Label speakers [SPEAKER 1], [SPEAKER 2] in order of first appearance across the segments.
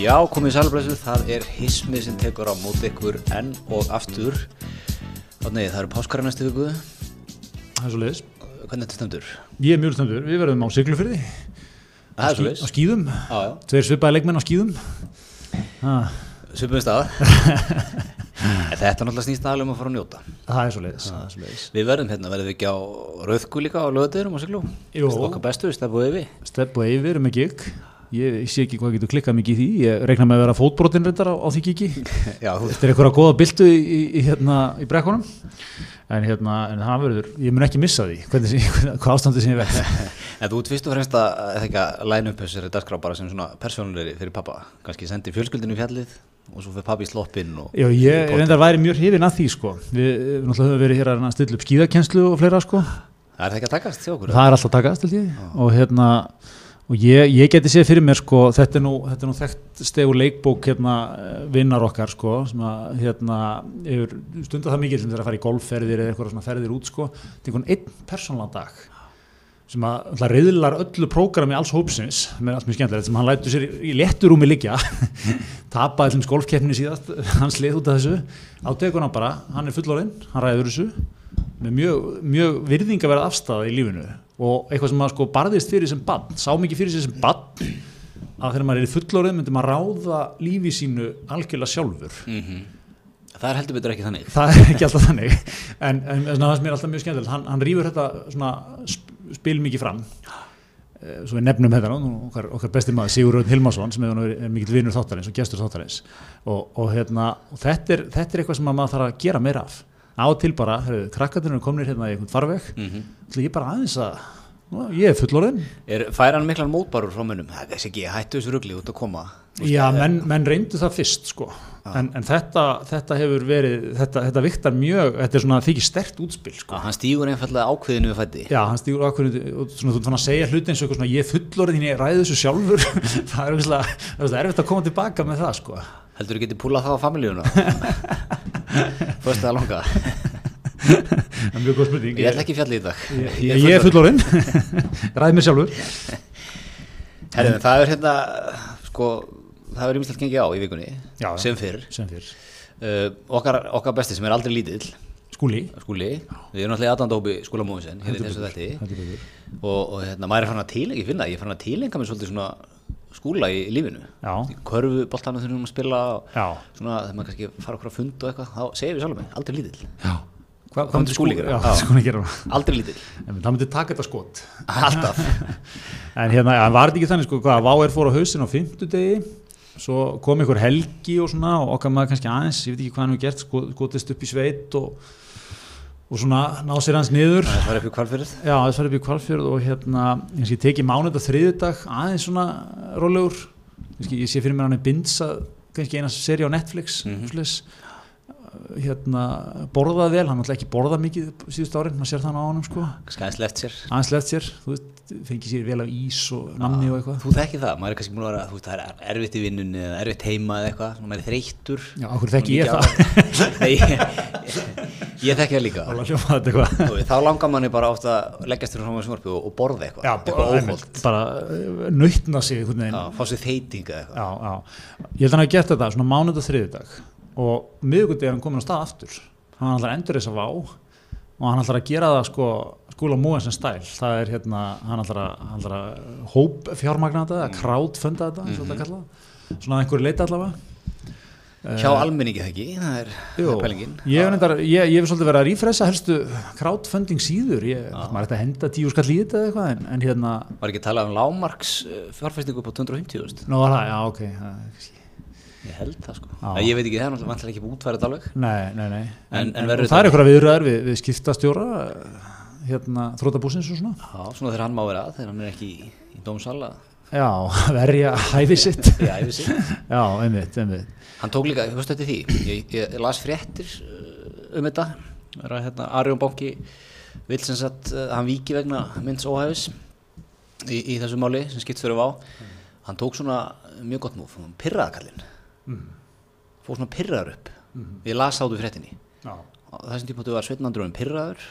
[SPEAKER 1] Já, komið í sælblæsu, það er hismið sem tekur á móti ykkur enn og aftur og nei, það eru páskara næstu viku
[SPEAKER 2] Það er svo leiðis.
[SPEAKER 1] hvernig þetta stendur?
[SPEAKER 2] Ég er mjög stöndur, við verðum á siglufyrði,
[SPEAKER 1] Það er svo
[SPEAKER 2] á skýðum,
[SPEAKER 1] Já, já,
[SPEAKER 2] tveir svipaði leikmenn á skýðum. Ah,
[SPEAKER 1] svipum við stað En Þetta náttúrulega snýst aðlega um að fara að njóta
[SPEAKER 2] það er svo leiðis, það er svo leiðis.
[SPEAKER 1] Við verðum hérna, verðum við ekki á Rauðku líka á lögadegurum og siglú?
[SPEAKER 2] Jú.
[SPEAKER 1] Okkar bestu, stefðu yfir
[SPEAKER 2] Steppa yfir með gig, ég, ég sé ekki hvað getur klikkað mikið í því, ég reikna með að vera fótbrotinn reyndar á, á því gigi.
[SPEAKER 1] Já, þú
[SPEAKER 2] Þetta er einhverja góða byltu í, í, í, hérna, í brekkunum, en, hérna, en það verður, ég mun ekki missa því, hvernig, sem- hvernig, hvað ástandi sem ég verð.
[SPEAKER 1] En þú ert fyrst og fremst að, eða ekki að læna upp þessari dagskrá bara sem svona persónulegri fyrir pappa. Kanski sendi fjölskyldinu í fjallið og svo fyrir pappi í sloppinn og...
[SPEAKER 2] Já, ég reyndar væri mjög hrifin að því, sko. Við, við náttúrulega höfum verið hér að reyna að stilla upp skíðakenslu og fleira, sko.
[SPEAKER 1] Það er það ekki að takast til okkur.
[SPEAKER 2] það er alltaf að takast held ég og hérna og ég, ég geti séð fyrir mér sko þetta er nú, þetta er nú þekkt stegur leikbók hérna eh, vinnar okkar sko sem að hérna yfir stundar það mikið sem þeir að fara í golfferðir eða eitthvað svona ferðir út sko til einhvern einn persónlan dag sem að alltaf reyðlar öllu prógrami alls hópsins með allt mjög skemmtilegt sem hann lætur sér í, í letturúmi liggja tapa allum golfkeppni síðast hann sleið út af þessu á tegun hann bara, hann er fullorinn, hann ræður þessu með mjög, mjög virðingaverð afstæða í lífinu og eitthvað sem maður sko barðist fyrir sem bann, sá mikið fyrir sér sem bann að þegar maður er í fullorinn myndi maður ráða lífi sínu algjörlega sjálfur
[SPEAKER 1] Mhm. Það er heldur betur ekki þannig.
[SPEAKER 2] það er ekki alltaf þannig en, en svona, það sem er alltaf mjög skemmtilegt hann, hann rýfur þetta svona sp- spil mikið fram Eh, svo við nefnum þetta nú, okkar, okkar besti maður Sigur Röðn Hilmarsson sem er, er mikill vinur þáttarins og gestur þáttarins og, og, hérna, og þetta, er, þetta er eitthvað sem að maður þarf að gera meira af á og til bara, heyrðu, krakkarnir eru komnir hérna í einhvern farveg mm ég er bara aðeins að nú, ég er fullorðin
[SPEAKER 1] Er, fær hann miklan mótbarur frá munum? Það er þessi ekki, hættu þessu rugli út að koma.
[SPEAKER 2] Já, menn, menn reyndu það fyrst sko. en, en þetta, þetta hefur verið þetta, þetta viktar mjög, þetta er svona þykir stert útspil sko.
[SPEAKER 1] Sko, hann stígur einfallega ákveðinu við fætti.
[SPEAKER 2] Já, hann stígur ákveðinu og svona, þú ert fann að segja hluti eins og eitthvað svona ég er fullorðin, ég ræði þessu sjálfur það er ógeðslega- það er ógeðslega erfitt að koma tilbaka með það sko.
[SPEAKER 1] Heldur þú getið púlað það á familíuna? Fyrst eða langa.
[SPEAKER 2] það er mjög góð spurning
[SPEAKER 1] Ég ætla ekki í fjallið í dag.
[SPEAKER 2] ég, ég, ég er fullorðin, ræði mér sjálfur
[SPEAKER 1] Herðin, það er hérna, sko, það er ymmislegt gengið á í vikunni,
[SPEAKER 2] Já, já.
[SPEAKER 1] sem fyrr.
[SPEAKER 2] sem fyrr,
[SPEAKER 1] Uh, okkar, okkar besti sem er aldrei lítill,
[SPEAKER 2] skúli
[SPEAKER 1] skúli, við erum náttúrulega aðdanda hópi skúla móðinsen hér í þessu þætti
[SPEAKER 2] heldur betur.
[SPEAKER 1] og, og hérna, maður er farin að tilenga, ég finna það, ég er farin að tilenga mér svolítið svona skúla í lífinu
[SPEAKER 2] Já.
[SPEAKER 1] í körfu, boltanum þegar við erum að spila og
[SPEAKER 2] Já.
[SPEAKER 1] svona þegar maður kannski fara okkur að fund og eitthvað, þá segir við sjálfum mig, aldrei lítill
[SPEAKER 2] Já. Hva,
[SPEAKER 1] Hvað myndi Skúli gera?
[SPEAKER 2] Já,
[SPEAKER 1] Já.
[SPEAKER 2] hvað myndi gera?
[SPEAKER 1] aldrei lítill,
[SPEAKER 2] En það myndi taka þetta skot
[SPEAKER 1] alltaf
[SPEAKER 2] En hérna, ja, en var þetta ekki þannig sko hvað, Vá er fór á hausin á fimmtudegi svo kom einhver helgi og svona og okkar maður kannski aðeins, ég veit ekki hvað hann hefur gert sko, skotist upp í sveit og, og svona ná sér hans niður
[SPEAKER 1] það er upp í kvalfyrð
[SPEAKER 2] Já, þess var upp í kvalfjörð og hérna kannski tekið mánuð og þriðudag aðeins svona rólegur kannski, ég sé fyrir mér hann er bindsað kannski eina seri á Netflix mm hérna, borðað vel hann ætla ekki borðað mikið síðust árin maður sér þann á honum sko
[SPEAKER 1] skæðslega eftir sér,
[SPEAKER 2] aðeins left sér, þú veist, fengið sér vel af ís og namni og eitthvað
[SPEAKER 1] þú þekki það, maður er kannski múin að vera þú veist, það er erfitt í vinnunni eða erfitt heima eða eitthvað, svona maður er þreyttur
[SPEAKER 2] Já, okkur þekki ég það
[SPEAKER 1] það Nei, ég, ég þekki það líka
[SPEAKER 2] Óla hljóma þetta eitthvað
[SPEAKER 1] Þú veist, þá langar manni bara oft að leggjast þér frá maður sjónvarpi og, og borða eitthvað,
[SPEAKER 2] Já,
[SPEAKER 1] eitthvað óholt,
[SPEAKER 2] einmitt, bara eh, nautna sig einhvern veginn
[SPEAKER 1] já,
[SPEAKER 2] já.
[SPEAKER 1] fá sér þeitinga eitthvað.
[SPEAKER 2] Já, Ég held að hann hafi gert þetta svona mánuð og þriðudag og miðugundi er hann komin á stað aftur hann ætlar að endur þess að vá og hann ætlar að gera það sko skúla móðin sem stæl það er hérna, hann ætlar að, hann ætlar að hóp fjármagna þetta, að crowdfunda þetta eins og þetta kalla það. svona að einhverju leita allavega
[SPEAKER 1] Hjá almenningi það ekki, það er það
[SPEAKER 2] eh, Jú,
[SPEAKER 1] er pælingin.
[SPEAKER 2] ég hef reyndar- ég ég hef svolítið verið að rífresa helstu crowdfunding síður ég, maður ætti að henda tíu skall í þetta eða eitthvað en, en hérna,
[SPEAKER 1] Var ekki að tala um lámarks eh, fjárfestingu upp á 250, veist?
[SPEAKER 2] nú var það, já ok það er kannski-
[SPEAKER 1] ég held það sko.
[SPEAKER 2] Já.
[SPEAKER 1] Nei, Ég veit ekki það, er náttúrulega vantilega ekki útfærið alveg.
[SPEAKER 2] nei, nei, nei
[SPEAKER 1] En- en
[SPEAKER 2] og
[SPEAKER 1] verður
[SPEAKER 2] það er
[SPEAKER 1] þetta-
[SPEAKER 2] einhverja viðræður við, við skiptastjóra eh, hérna, þrótabúsins og svona
[SPEAKER 1] Já, svona þegar hann má vera að, þegar hann er ekki í, í dómsala.
[SPEAKER 2] já, verja hæfi sitt
[SPEAKER 1] Já, ég vissi.
[SPEAKER 2] já, einmitt, einmitt
[SPEAKER 1] Hann tók líka, höfstu þetta því, ég, ég las fréttir eh, um þetta, er að hérna Arjón Banki vil sem sagt, eh, hann viki vegna mynds óhæfis í, í þessu máli sem skipt fyrir vá, hann tók svona mjög gott múf, hann pirraði kallinn, Mm. fór svona pirraður upp, ég las þáttu fréttinni,
[SPEAKER 2] já,
[SPEAKER 1] á þessum tímpóttu var Sveitnandrúin pirraður,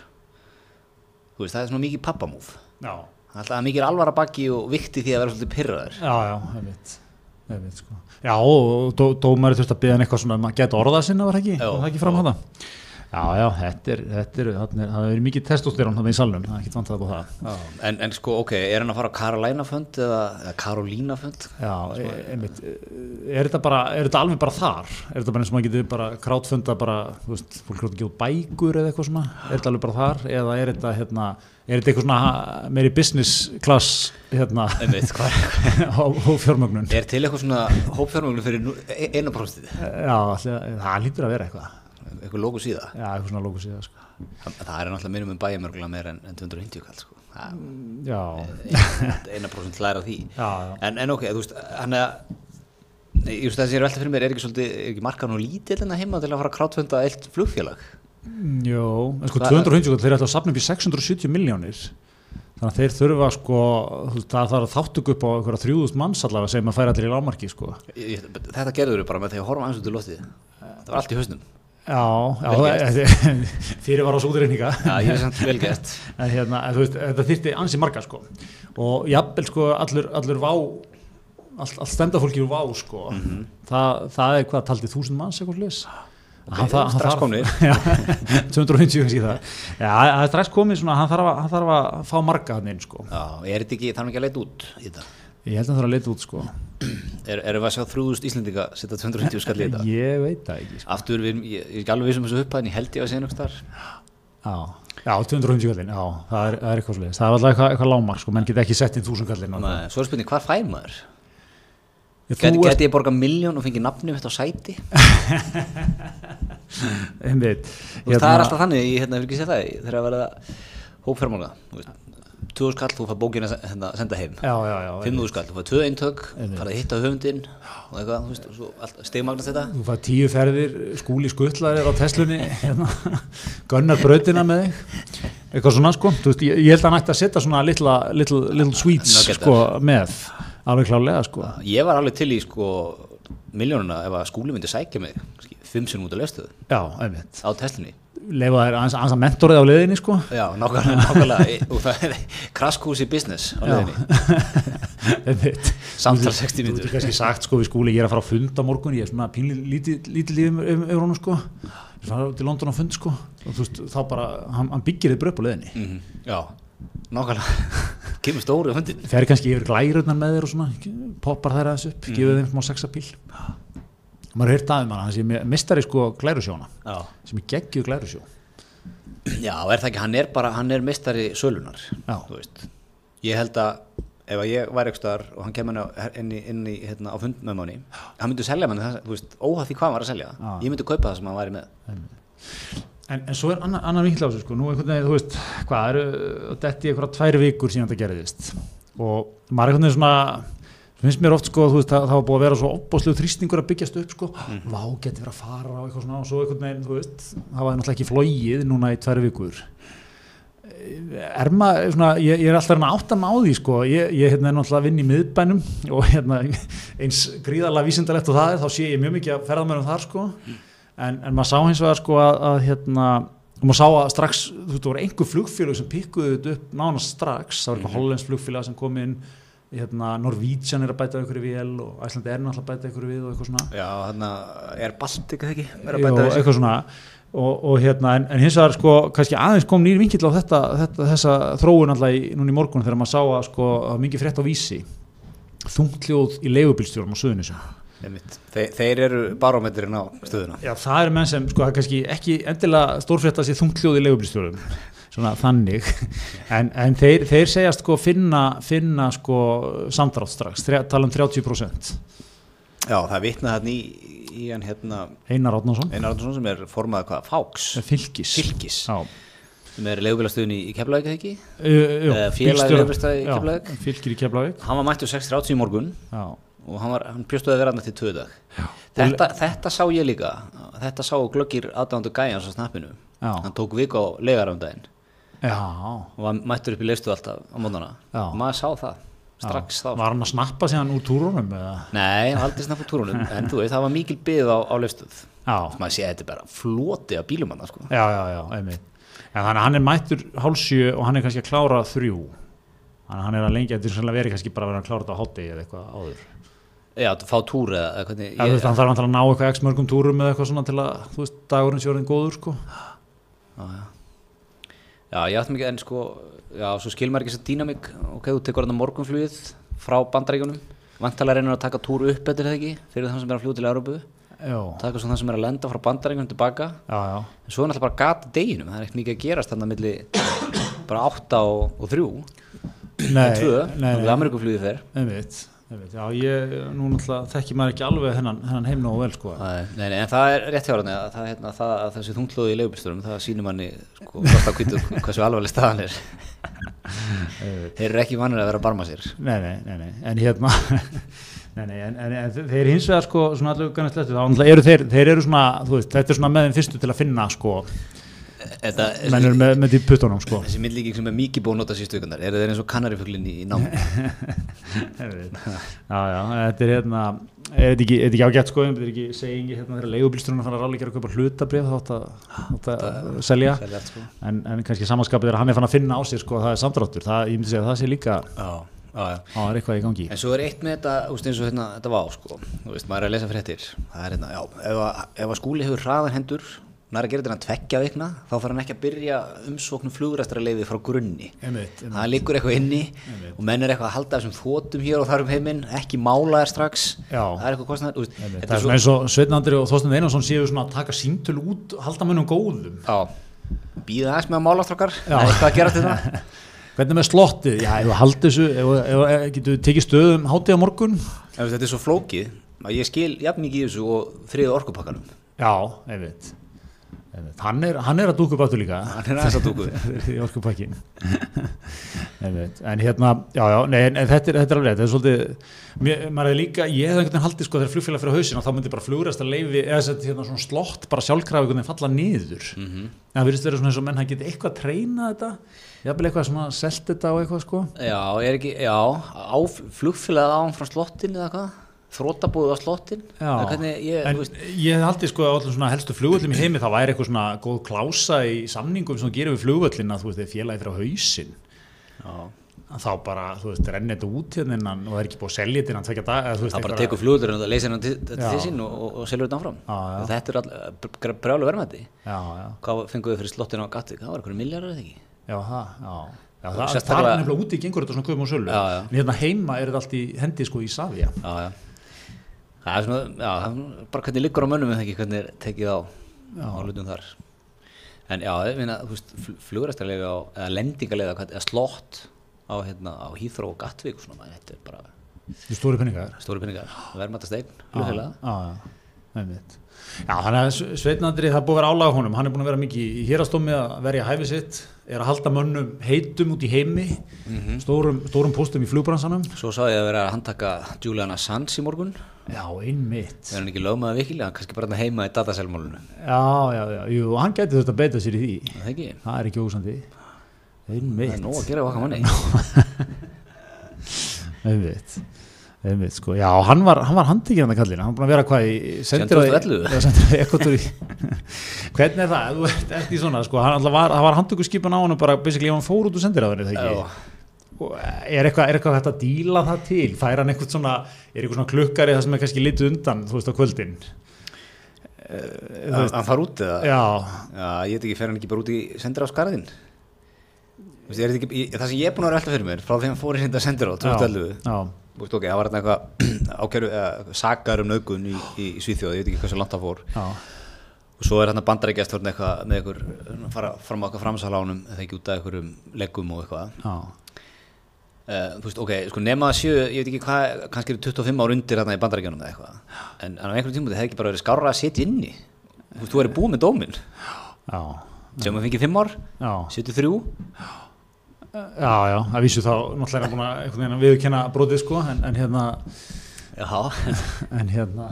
[SPEAKER 1] þú veist, það er svona mikið pappamúf,
[SPEAKER 2] já,
[SPEAKER 1] alltaf mikið alvara baki og vikti því að vera svolítið pirraður.
[SPEAKER 2] já, já einmitt Ég veit, sko. Já, og dó, dómari þurft að byggja hann eitthvað svona um að geta orða sinna var það ekki,
[SPEAKER 1] Já,
[SPEAKER 2] var það ekki
[SPEAKER 1] já.
[SPEAKER 2] fram hana Já, já, þetta er, þetta er, þarna er það er mikið testosterón hann í salnum, það er ekki vantað að búið það
[SPEAKER 1] Já, en, en sko, ok, er hann að fara á Karolínafönd eða, eða Karolínafönd? Sko,
[SPEAKER 2] Já, e- einmitt, er þetta bara, er þetta alveg bara þar? Er þetta bara eins og maður getur bara krátfunda bara, þú veist, fólk hljótt ekki út bækur eða eitthvað svona, er þetta alveg bara þar? Eða er þetta, hérna, er þetta eitthvað svona ha- meiri business class, hérna,
[SPEAKER 1] Einmitt, sko. hvað er,
[SPEAKER 2] og, og fjármögnun?
[SPEAKER 1] er til eitthvað svona hópfjármögnum fyrir nú- e- eina próstið?
[SPEAKER 2] Já, allir, það lítur að vera eitthvað,
[SPEAKER 1] Eitthvað lóku síða?
[SPEAKER 2] já, eitthvað svona lókus í það, sko.
[SPEAKER 1] Það, það er náttúrulega minnum um bæjarmörgulega meira en, en 250 kall, sko. Það-
[SPEAKER 2] Já,
[SPEAKER 1] eina prósent læra því
[SPEAKER 2] Já, já.
[SPEAKER 1] En, en ok, þú veist, hann er Nei, Ég veist það sem ég er velta fyrir mér er ekki, svolítið, er ekki markan og lítill en að heima til að fara að krátfunda eitt flugfélag
[SPEAKER 2] Jó, en sko
[SPEAKER 1] Hva-
[SPEAKER 2] 250, þeir ætla að safna upp í 670 miljónir þannig að þeir þurfa sko, þú veist, það þarf að þáttöku upp á einhverja 3000 manns allavega sem að færa allir í lámarki sko.
[SPEAKER 1] Ég- ég- Þetta gerður við bara með því að horfa aðeins út í lotið Það var allt í hausnum
[SPEAKER 2] Já, já
[SPEAKER 1] Vel gert.
[SPEAKER 2] það- fyrir var á súturreininga
[SPEAKER 1] Já, ég er samt vel gert
[SPEAKER 2] en hérna, en þú veist, þetta þyrfti ansi marga sko og jafnvel sko allur, allur vá allt, allt stendafólki úr vá sko
[SPEAKER 1] Mhm.
[SPEAKER 2] það, það er hvað, taldi þúsund manns eitthvað slis
[SPEAKER 1] Ok, strax komnir.
[SPEAKER 2] 250 kannski í það já, það er strax komið svona, hann þarf, að, hann þarf að fá marga hann inn sko
[SPEAKER 1] Já, er þetta ekki, þannig ekki að leita út í þetta
[SPEAKER 2] ég held að hann þarf að leita út sko
[SPEAKER 1] Er, Erum við að sjá 3000 Íslendinga setja 250 skall í þetta?
[SPEAKER 2] ég veit það ekki sko.
[SPEAKER 1] Aftur, við, erum- ég, ég er ekki alveg vissum þessu upphæðin, ég held ég að segja nokkuð þar
[SPEAKER 2] já, já 250 kallin já, það er, það er eitthvað slis, það er alltaf eitthvað, eitthvað lámark sko, menn geta ekki sett inn 1000 kallin og-
[SPEAKER 1] Nei, Svo er spurning, hvað fær maður?
[SPEAKER 2] Ég,
[SPEAKER 1] Gæti,
[SPEAKER 2] þú ert-
[SPEAKER 1] gæti ég borga miljón og fengið nafnum þetta á sæti?
[SPEAKER 2] einmitt,
[SPEAKER 1] Þú veist, það er
[SPEAKER 2] hérna-
[SPEAKER 1] alltaf þannig, ég hérna, hefur ekki séð það ég- þegar að verða hópfjármála Tvöðu skall, þú fær bókina hérna, senda heim
[SPEAKER 2] já, já, já,
[SPEAKER 1] Fimmuðu skall, þú fær tvöðu eintök
[SPEAKER 2] Einmitt.
[SPEAKER 1] farið að hitta höfundinn og eitthvað, þú veist, og svo stegmagnast þetta
[SPEAKER 2] Þú fæði tíu ferðir, skúli skuttlar er á Teslunni, hérna, gunnar brautina með þig, eitthvað svona sko, þú veist, ég, ég held að hann ætti að setja svona litla, little, little sweets
[SPEAKER 1] Nuggeta.
[SPEAKER 2] sko með, alveg klálega sko.
[SPEAKER 1] Ég var alveg til í sko miljónuna ef að skúli myndi sækja mig kannski fimm sinum út af löstuðu
[SPEAKER 2] Já, einmitt,
[SPEAKER 1] á testinni
[SPEAKER 2] leifa þær aðeins, aðeins að mentorið á leiðinni sko.
[SPEAKER 1] Já, nákvæmlega, nákvæmlega og það er kraskúsi business á leðinni
[SPEAKER 2] einmitt.
[SPEAKER 1] Samtal 60
[SPEAKER 2] Þú getur
[SPEAKER 1] mínútur
[SPEAKER 2] kannski sagt sko við skúli, ég er að fara á fund á morgun, ég er svona pínlítið lífið um, um, um honum sko, ég er að fara til London á fund sko, og þú veist, þá bara, hann, hann byggir þið bröp á leiðinni.
[SPEAKER 1] mm Já, nákvæmlega Kemur stóri á hundin
[SPEAKER 2] fer kannski yfir glærurnar með þér og svona, poppar þær aðeins upp, gefur þeim smá sexapíl. Maður hefur það um hana, hann sé me- meistari sko glærusjóna,
[SPEAKER 1] Já
[SPEAKER 2] sem er geggjuð glærusjó.
[SPEAKER 1] Já, er það ekki, hann er bara, hann er mistari sölunar,
[SPEAKER 2] Já.
[SPEAKER 1] þú veist ég held að ef að ég væri ekki staðar og hann kemur inn á- inn í, inn í hérna, á fund með manni, hann myndi selja manni það, þú veist, óhað því hvað hann var að selja
[SPEAKER 2] Já.
[SPEAKER 1] ég myndi kaupa það sem hann væri með
[SPEAKER 2] En, en svo er annar, annar vinkla á þessu sko, nú einhvern veginn, þú veist, hvað eru, og detti ég eitthvað tvær vikur síðan þetta gerðist. Og maður einhvern veginn svona, svo finnst mér oft sko, þú veist, það, það var búið að vera svo opbóðslegu þrýstingur að byggjast upp sko, vá, geti verið að fara á eitthvað svona og svo einhvern veginn, þú veist, það var náttúrulega ekki flóið núna í tvær vikur. er maður, svona, ég, ég er alltaf að reyna að átta mig á því sko, ég, ég hérna, er náttúrulega að vinna í miðbænum og hérna, eins gríðarlega vísindalegt og það er, þá sé ég mjög mikið að ferða mér um þar sko, en, en maður sá hins vegar sko að, að hérna, og maður sá að strax, þú veist, það voru einhver flugfélög sem pikkuðu þetta upp nánast strax, það voru eitthvað hollensk flugfélag sem kom inn, hérna, Norvítsjan er að bæta einhverju vél og Æslandi er náttúrulega að bæta einhverju við og eitthvað svona.
[SPEAKER 1] Já, hann er Baltic eða ekki er að
[SPEAKER 2] Jú,
[SPEAKER 1] bæta þessi
[SPEAKER 2] eitthvað svona og, og hérna, en, en hins vegar sko kannski aðeins kom nýr vinkill á þetta, þetta þessa þróun alltaf í, núna í morgun þegar maður sá að sko að mingi frétt á vísi þungljóð í leigubílstjórum á suðunisum
[SPEAKER 1] Einmitt. Þe, þeir eru barometrin á stöðuna
[SPEAKER 2] Já, það er menn sem sko það er kannski ekki endilega stórfrétta sér þungljóð í leigubílstjórum svona þannig en, en þeir, þeir segjast sko finna, finna sko samdrátt strax þrjá- tala um 30%
[SPEAKER 1] Já, það vitnaði hann í, í hann hérna
[SPEAKER 2] Einar Átnason
[SPEAKER 1] Einar Arnarsson sem er formaði hvað, Fáks
[SPEAKER 2] Fylgis
[SPEAKER 1] Fylkis,
[SPEAKER 2] Já,
[SPEAKER 1] sem er leigubílastöðun í, í Keflavík eða ekki
[SPEAKER 2] uh,
[SPEAKER 1] Eða félagi leigubílstæði í Keflavík.
[SPEAKER 2] Fylgir í Keflavík
[SPEAKER 1] hann var mættur 6.30 í morgun
[SPEAKER 2] Já
[SPEAKER 1] og hann, var, hann bjóstu að vera hann til tvö dag þetta, þetta sá ég líka þetta sá glöggir aðdándu gæjans á snappinu
[SPEAKER 2] Já.
[SPEAKER 1] hann tók viku á leigaröndaginn
[SPEAKER 2] Já,
[SPEAKER 1] og var mættur upp í leistu alltaf á mótana
[SPEAKER 2] Já.
[SPEAKER 1] maður sá það strax þá
[SPEAKER 2] Var hann að snappa sér hann úr túrunum eða?
[SPEAKER 1] nei, hann var aldrei snabbt á túrunum en þú veist, það var mikil byggð á, á leistuð
[SPEAKER 2] Já,
[SPEAKER 1] maður sé að þetta er bara floti af bílum hann sko.
[SPEAKER 2] já, já, já, einmitt. En þannig að hann er mættur hálsjö og hann er kannski að klára þrjú. Þannig að hann er að lengja, þetta er sannlega verið kannski bara að vera að klára þetta á hátegi eða eitthvað áður.
[SPEAKER 1] Já, fá túr eða eða hvernig
[SPEAKER 2] Já, þú veist, hann þarf náttúrulega að ná eitthvað x mörgum túrum eða eitthvað svona til að, þú veist, dagurinn sjóðin góður, sko.
[SPEAKER 1] Já, já. Já, ég átti mikið en sko, já, svo skilur maður ekki þess að dýnamík, ok, þú tekur hann morgunflugið frá bandaríkunum, vantalega reynir að taka túr upp eftir það ekki, fyrir þann sem er að fljóta til Európu,
[SPEAKER 2] Já,
[SPEAKER 1] taka svo þann sem er að lenda frá bandaríkunum tilbaka,
[SPEAKER 2] já, já.
[SPEAKER 1] en svo er náttúrulega bara gata deginum, það er ekkert mikið að gerast þannig að milli bara 8 og, og 3,
[SPEAKER 2] Nei,
[SPEAKER 1] 2,
[SPEAKER 2] nei,
[SPEAKER 1] þannig að
[SPEAKER 2] nei,
[SPEAKER 1] Amerikuflugið fer.
[SPEAKER 2] einmitt, einmitt. Já, ég, nú náttúrulega þekki maður ekki alveg hennan, hennan heim nógu vel, sko.
[SPEAKER 1] Nei, nei, nei, en það er rétt hjá hann að, það, hérna, það, að þessi þunglóði í leigubilstörum það sýnir manni sko, hvort að kvítu hversu alvarleg staðan er þeir eru ekki mannir að vera að barma sér
[SPEAKER 2] Nei, nei, nei, nei, en hérna, nei, nei, en, en, en þeir hins vegar, sko, svona allavega kannast lettu, þá náttúrulega eru þeir, þeir eru svona, þú veist, þetta er svona með þeim fyrstu til að finna, sko,
[SPEAKER 1] Þetta,
[SPEAKER 2] menn eru með, með því puttunum, sko.
[SPEAKER 1] þessi myndlíking sem er mikið búin að nota síðustu vikunar eru þeir eins og kanarifuglinni í nám
[SPEAKER 2] Einmitt. já, já, þetta er hérna er þetta ekki, er þetta ekki ágætt sko þetta er ekki segingi hérna þegar leigubílstjónar fann að ráðleggja að kaupa hlutabrif þá átt að, átt að selja
[SPEAKER 1] Það er allt, sko.
[SPEAKER 2] en, en kannski samanskapið er að hann er fann að finna á sér sko að það er samdráttur, það, ég myndi segja að það sé líka á,
[SPEAKER 1] Já, já, já.
[SPEAKER 2] það er eitthvað í gangi
[SPEAKER 1] En svo er eitt með þetta, þú veist eins og hérna, þetta var sko, þú veist, maður er að lesa fréttir, það er hérna, já, ef að, ef að skúli hefur hraðan hendur, nær að gera þetta innan tveggja vikna, þá fær hann ekki að byrja umsóknum flugræstraleiði frá grunni.
[SPEAKER 2] Einmitt, einmitt.
[SPEAKER 1] Það liggur eitthvað inni og menn er eitthvað að halda þessum þótum hér og þar um heiminn, ekki mála þær strax,
[SPEAKER 2] Já.
[SPEAKER 1] það er eitthvað kostnæður, þú veist,
[SPEAKER 2] Einmitt,
[SPEAKER 1] þetta
[SPEAKER 2] það er
[SPEAKER 1] er svo,
[SPEAKER 2] svona eins og Sveinn Andri og Þorsten Einarsson séu svona að taka síntöl út halda mönnum góðum
[SPEAKER 1] já, býða aðeins með að mála strax, það er eitthvað að gera þetta.
[SPEAKER 2] hvernig með slottið, já, ef við haldið þessu ef, ef, ef getur við tekið stöðum hátíð á morgun
[SPEAKER 1] En þú veist, Þetta er svo flókið, að ég skil jafn mikið í þessu og þriðu orkupakkanum,
[SPEAKER 2] já, einmitt, einmitt. Hann, er, hann er að dúka upp áttu líka
[SPEAKER 1] hann er aðeins að dúku.
[SPEAKER 2] í orkupakkin en hérna, já, já, nei, en, en þetta, er, þetta er alveg rétt, þetta er svolítið mér, maður er líka, ég hef einhvern veginn haldið sko þegar flugfélag fyrir hausin og þá myndi bara flugræsta leifi eða sett hérna svona slott, bara sjálfkrafi einhvern veginn falla niður, en það virðist verið svona eins og menn hann geti eitthvað að treyna þetta jafnvel eitthvað svona selt þetta og eitthvað sko
[SPEAKER 1] Já, er ekki, já, á, flugfélagið án frá slottin eða hvað? Þrótabúið á slottin?
[SPEAKER 2] Já,
[SPEAKER 1] Eða Hvernig ég,
[SPEAKER 2] en
[SPEAKER 1] þú veist,
[SPEAKER 2] ég hef haldið sko að allir svona helstu flugvöllum í heimi þá væri eitthvað svona góð klása í samningum sem þú gerir við flugvöllina, þú veist, þegar félagið fyrir hausinn
[SPEAKER 1] já,
[SPEAKER 2] að þá bara, þú veist, renni þetta út hérna innan og það er ekki búið að selja þetta innan tvekja dag eða þú veist,
[SPEAKER 1] það bara
[SPEAKER 2] einhverja-
[SPEAKER 1] tekur flugurinn og leysir hann til, til
[SPEAKER 2] Já.
[SPEAKER 1] sín og, og, og selur þetta áfram.
[SPEAKER 2] Já, já.
[SPEAKER 1] Þetta er all, brjálu verðmætti.
[SPEAKER 2] já, já,
[SPEAKER 1] Hvað fenguðu fyrir slottin á Gatvík? Það var eitthvað miljardar eða ekki?
[SPEAKER 2] já, það, já, já það, það,
[SPEAKER 1] Sérstaklega-
[SPEAKER 2] er nefnilega úti í gengur þetta svona köfum og sölu
[SPEAKER 1] Já, já.
[SPEAKER 2] en hérna heima er þetta allt í hendi sko í Savia
[SPEAKER 1] Já, já. Það er svona, já, það er bara hvernig liggur á mönnum eða ekki, hvernig er tekið á, á hlutum þar. En já, ég meina, þú veist, flugurastarlega á, eða lendingarlega, hvað- eða slott á, hérna, á Hýþró og Gatvík og svona, maður, þetta er bara...
[SPEAKER 2] í stóri penningar
[SPEAKER 1] Stóri peningar, verðmættast eign,
[SPEAKER 2] já,
[SPEAKER 1] hlutfélaga.
[SPEAKER 2] já, einmitt Já, þannig að Sve- Sveinn Andri, það er búið að vera álaga honum, hann er búin að vera mikið í hérastómi að verja hæfi sitt, er að halda mönnum heitum út í heimi, Mhm. stórum, stórum póstum í flugbransanum.
[SPEAKER 1] Svo sá ég að vera að handtaka Julian Assange í morgun.
[SPEAKER 2] Já, einmitt.
[SPEAKER 1] Er hann ekki lögmaður vikilega, kannski bara þarna heima í dataselmálunum.
[SPEAKER 2] Já, já, já, jú, hann gæti þurft að beita sér í því.
[SPEAKER 1] Er Það ekki?
[SPEAKER 2] Það er ekki ósandi
[SPEAKER 1] Það er nóg
[SPEAKER 2] Einmitt
[SPEAKER 1] að gera okkar manni.
[SPEAKER 2] Einmitt Einmitt sko Já, hann var, hann var handtekinn hann að kallina Hann var búin að vera hvað í sendiráði-
[SPEAKER 1] 711?
[SPEAKER 2] Já, sendiráði Ekvator í- Hvernig er það? Ef Þú ert ert í svona sko Hann alltaf var, það var handtökuskipan á hann bara basically ef hann fór út úr sendiráðinu
[SPEAKER 1] Já.
[SPEAKER 2] þegar ekki Og eh, er eitthvað, er eitthvað hægt að díla það til fær hann eitthvað svona, er eitthvað svona klukkari það sem er kannski litið undan, þú veist, á kvöldin
[SPEAKER 1] Hann hann far út eða?
[SPEAKER 2] já,
[SPEAKER 1] Já, ég veit ekki, fer hann ekki bara út í sendir á skarðin? Þú veist, er þetta ekki, ég- það sem ég er búin að vera alltaf fyrir mér, frá því hann fór í sendir sendir á,
[SPEAKER 2] já,
[SPEAKER 1] 2011,
[SPEAKER 2] já,
[SPEAKER 1] þú veist ok, það var hann eitthvað ákjæru, eða, sakar um nögun í, í, í Svíþjóð, ég veit ekki hversu langt það fór.
[SPEAKER 2] já,
[SPEAKER 1] og svo er hann að bandarækjastjórn eitthvað með ykkur, fara fram á eitthvað framsalánum eða ekki út af einhverjum leggum og eitthvað
[SPEAKER 2] já,
[SPEAKER 1] uh, þú veist, ok, sko nema að séu ég veit ekki hvað, kannski eru 25 ár undir þarna í bandarækjunum eða eitthvað, en, en á einhverjum tímum það hefði ekki bara verið skárra að sitja inni þú veist, þú verið búið með dómin
[SPEAKER 2] já,
[SPEAKER 1] sem að fengið 5 ár,
[SPEAKER 2] já.
[SPEAKER 1] 73
[SPEAKER 2] Já, já, að vísu þá náttúrulega er hann búin að einhvern veginn að viðurkenna brotið sko, en, en hérna,
[SPEAKER 1] já,
[SPEAKER 2] en hérna,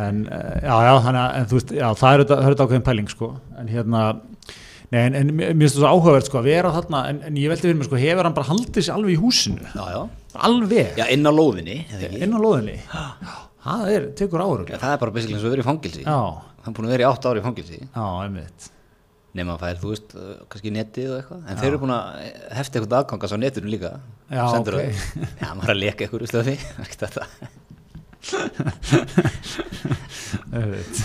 [SPEAKER 2] en eh, já, já, þannig að, en þú veist, já, það er auðvitað- það er auðvitað ákveðin pæling sko, en hérna, nei, en, en mér mér finnst það svo áhugavert sko að vera þarna, en, en ég veldi fyrir mér sko, hefur hann bara haldið sér alveg í húsinu,
[SPEAKER 1] já, já
[SPEAKER 2] alveg,
[SPEAKER 1] já, inn á lóðinni, eða ekki
[SPEAKER 2] inn á loðinni, það er, tekur áhugavert,
[SPEAKER 1] Já, það er bara basically eins og verið í fangilsi
[SPEAKER 2] já,
[SPEAKER 1] hann er búin að vera í 8 ári í fangilsi
[SPEAKER 2] já, einmitt,
[SPEAKER 1] nema að fær, þú veist, uh, kannski netið og eitthvað en þeir eru búin að hefta eitthvað aðgangast á netinu líka
[SPEAKER 2] Já,
[SPEAKER 1] Sendir það.
[SPEAKER 2] ok.
[SPEAKER 1] Já, maður er að leka eitthvað úr stöfi, ekki þetta
[SPEAKER 2] Einmitt.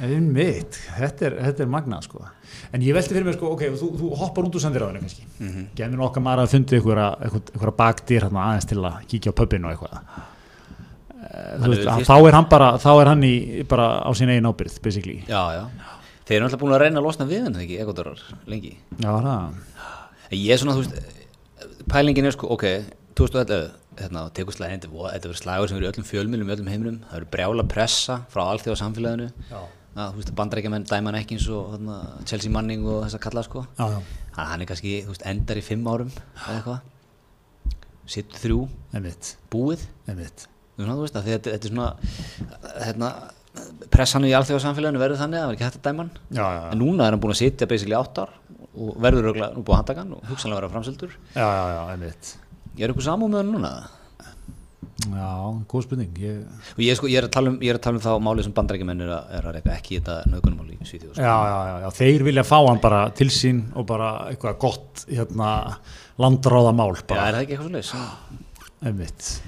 [SPEAKER 2] Einmitt, þetta er, þetta er magnað sko. En ég velti fyrir mér sko, ok, þú, þú hoppar út úr sendiráðinu kannski.
[SPEAKER 1] mm -hmm.
[SPEAKER 2] Gemir nokkar maður að fundi einhverja, einhverja, einhverja bakdýr hérna aðeins til að kíkja á pöppinu og eitthvað. Eh,
[SPEAKER 1] Hann
[SPEAKER 2] Þú
[SPEAKER 1] er
[SPEAKER 2] veist,
[SPEAKER 1] við
[SPEAKER 2] hann,
[SPEAKER 1] fyrst-
[SPEAKER 2] þá er hann bara, þá er hann í, bara á sín eigin ábyrð, basically.
[SPEAKER 1] já, já þeir eru náttúrulega búin að reyna að losna við henni ekki, ekkotarar, lengi
[SPEAKER 2] Já, það.
[SPEAKER 1] En ég er svona, þú veist, pælingin er sko, ok, 2011, hérna, tekur slæðin, þetta verður slagur sem verður í öllum fjölmjölum, öllum heiminum, það verður brjála pressa frá alþjóða samfélaginu,
[SPEAKER 2] Já,
[SPEAKER 1] að, þú veist, bandrækjamenn dæma hann ekki eins og hérna, Chelsea Manning og þess að kalla, sko,
[SPEAKER 2] já,
[SPEAKER 1] þannig að hann er kannski, þú veist, endar í fimm árum, eða eitthvað, sitt þrjú,
[SPEAKER 2] einmitt,
[SPEAKER 1] búið,
[SPEAKER 2] einmitt.
[SPEAKER 1] svona, þú veist, að þetta, þetta er svona, hérna, pressan í alþjóða samfélaginu verður þannig að það verður ekki hægt að dæma hann,
[SPEAKER 2] Já, já, já,
[SPEAKER 1] en núna er hann búin að sitja basically átt ár og verður örugglega- nú búið að handtaka hann og hugsanlega verða framseldur
[SPEAKER 2] já, já, já, einmitt.
[SPEAKER 1] Ég er eitthvað samúð með hann núna
[SPEAKER 2] Já, góð spurning, ég...
[SPEAKER 1] og ég er, sko, ég, er að tala um, ég er að tala um þá málið sem bandrækjumenn er, að- er að reyka ekki í þetta nöðgunumál í Svíþjóð sko.
[SPEAKER 2] Já, já, já, já, þeir vilja fá hann bara til sín og bara eitthvað gott, hérna, landráðamál
[SPEAKER 1] Já,
[SPEAKER 2] bara.
[SPEAKER 1] er það ekki eitthvað svoleiðis?
[SPEAKER 2] Einmitt,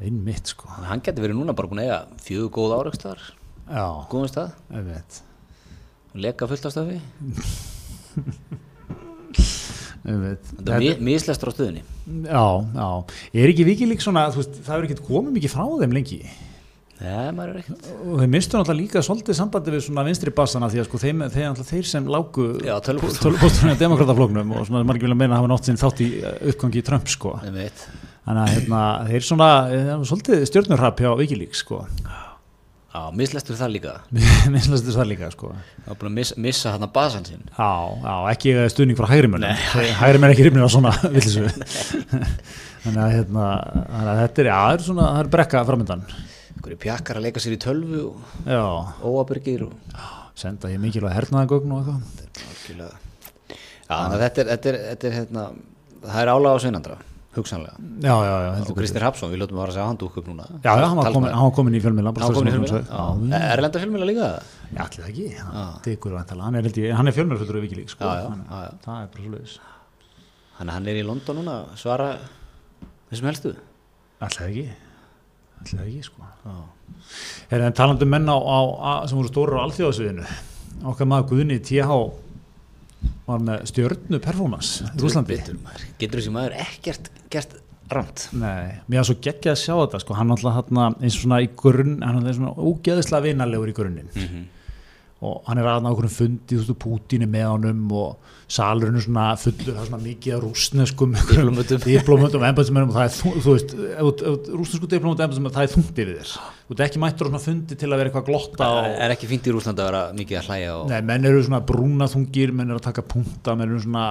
[SPEAKER 2] einmitt, sko.
[SPEAKER 1] Þannig að Hann getur verið núna bara búin að eiga fjögur góð áreikstar,
[SPEAKER 2] Já,
[SPEAKER 1] góðum stað
[SPEAKER 2] einmitt,
[SPEAKER 1] leka fullt af stöfi,
[SPEAKER 2] einmitt.
[SPEAKER 1] þetta er mislestur á stöðinni
[SPEAKER 2] Já, já, er ekki vikið líka svona, þú veist, það er ekki komið mikið frá þeim lengi
[SPEAKER 1] Nei, maður er ekkert
[SPEAKER 2] og þeir mistu náttúrulega líka svolítið sambandi við svona vinstri bassana því að sko þeim, þeir, þeir, þeir sem lágu
[SPEAKER 1] Já, tölvupóstum.
[SPEAKER 2] tölvupóstunum í demokrataflóknum og svona margir vilja meina að hafa nátt sinn þátt í eh, uppgangi í Trump sko
[SPEAKER 1] Einmitt.
[SPEAKER 2] þannig að hérna, þeir svona eh, svolítið stjórnurrapp hjá Wikileaks sko
[SPEAKER 1] Já, mislestur það líka
[SPEAKER 2] minnst það líka sko já,
[SPEAKER 1] Það er búin að miss, missa hann að basan sinn
[SPEAKER 2] já, ekki eh, stuðning frá hægrimönnum hægrimenn er ekki hrifnir á svona villisu þannig að hérna þannig að þetta er, já, það er svona, það er brekka framöndan
[SPEAKER 1] Einhverju pjakkar að leika sér í tölvu og
[SPEAKER 2] já,
[SPEAKER 1] óabyrgir og
[SPEAKER 2] senda ég mikilvæg hernaðagögn og eitthvað
[SPEAKER 1] algjörlega Já, þannig að þetta er, þetta er, þetta er hérna, það er álag á sveinandra, hugsanlega
[SPEAKER 2] já, já, já, heldur
[SPEAKER 1] og Kristinn Hrafsson, við ljóttum að vara að segja hann dúk upp núna
[SPEAKER 2] Já, já, hann var
[SPEAKER 1] Talsmaður.
[SPEAKER 2] komin, hann var komin í fjölmiðla
[SPEAKER 1] hann var komin í fjölmjöla
[SPEAKER 2] Já,
[SPEAKER 1] já. Erlenda fjölmjöla líka
[SPEAKER 2] já, allir það ekki hann tekur væntanlega, hann er, held ég- hann er fjölmiðlafjöldur í Vikilík, sko
[SPEAKER 1] Já, já,
[SPEAKER 2] Þannig að
[SPEAKER 1] já, já.
[SPEAKER 2] Það er bara svolítið
[SPEAKER 1] hann, hann er í London núna að svara þessum helstu já.
[SPEAKER 2] Allir það ekki Allir það ekki, sko Herra, en talandi um menn á, á, á, sem voru stóru á alþjóðasviðinu okkar maður Guðni TH var með stjörnu performance í Rúslandi
[SPEAKER 1] Betur maður. getur þessi maður ekkert gert rámt
[SPEAKER 2] Nei, mér var svo geggjað að sjá þetta sko, hann alltaf hérna eins og svona í grunn hann er svona ógeðislega vinalegur í grunninn og hann er aðna okkur fundi, þú veist, og Pútín er með honum og salurinn er svona fullur það er svona mikið af rúsneskum
[SPEAKER 1] Diplómötum.
[SPEAKER 2] diplómötum og embætismennum og það er, þú, þú veist, ef þú- ef þú- rúsnesku diplómötum og embætismennum, það er þungt yfir þér þú ert ekki mættur á svona fundi til að vera eitthvað að glotta
[SPEAKER 1] það
[SPEAKER 2] og,
[SPEAKER 1] er ekki fínt í Rúslanda að vera mikið að hlæja og
[SPEAKER 2] Nei, menn eru svona brúnaþungir, menn eru að taka punta, menn eru svona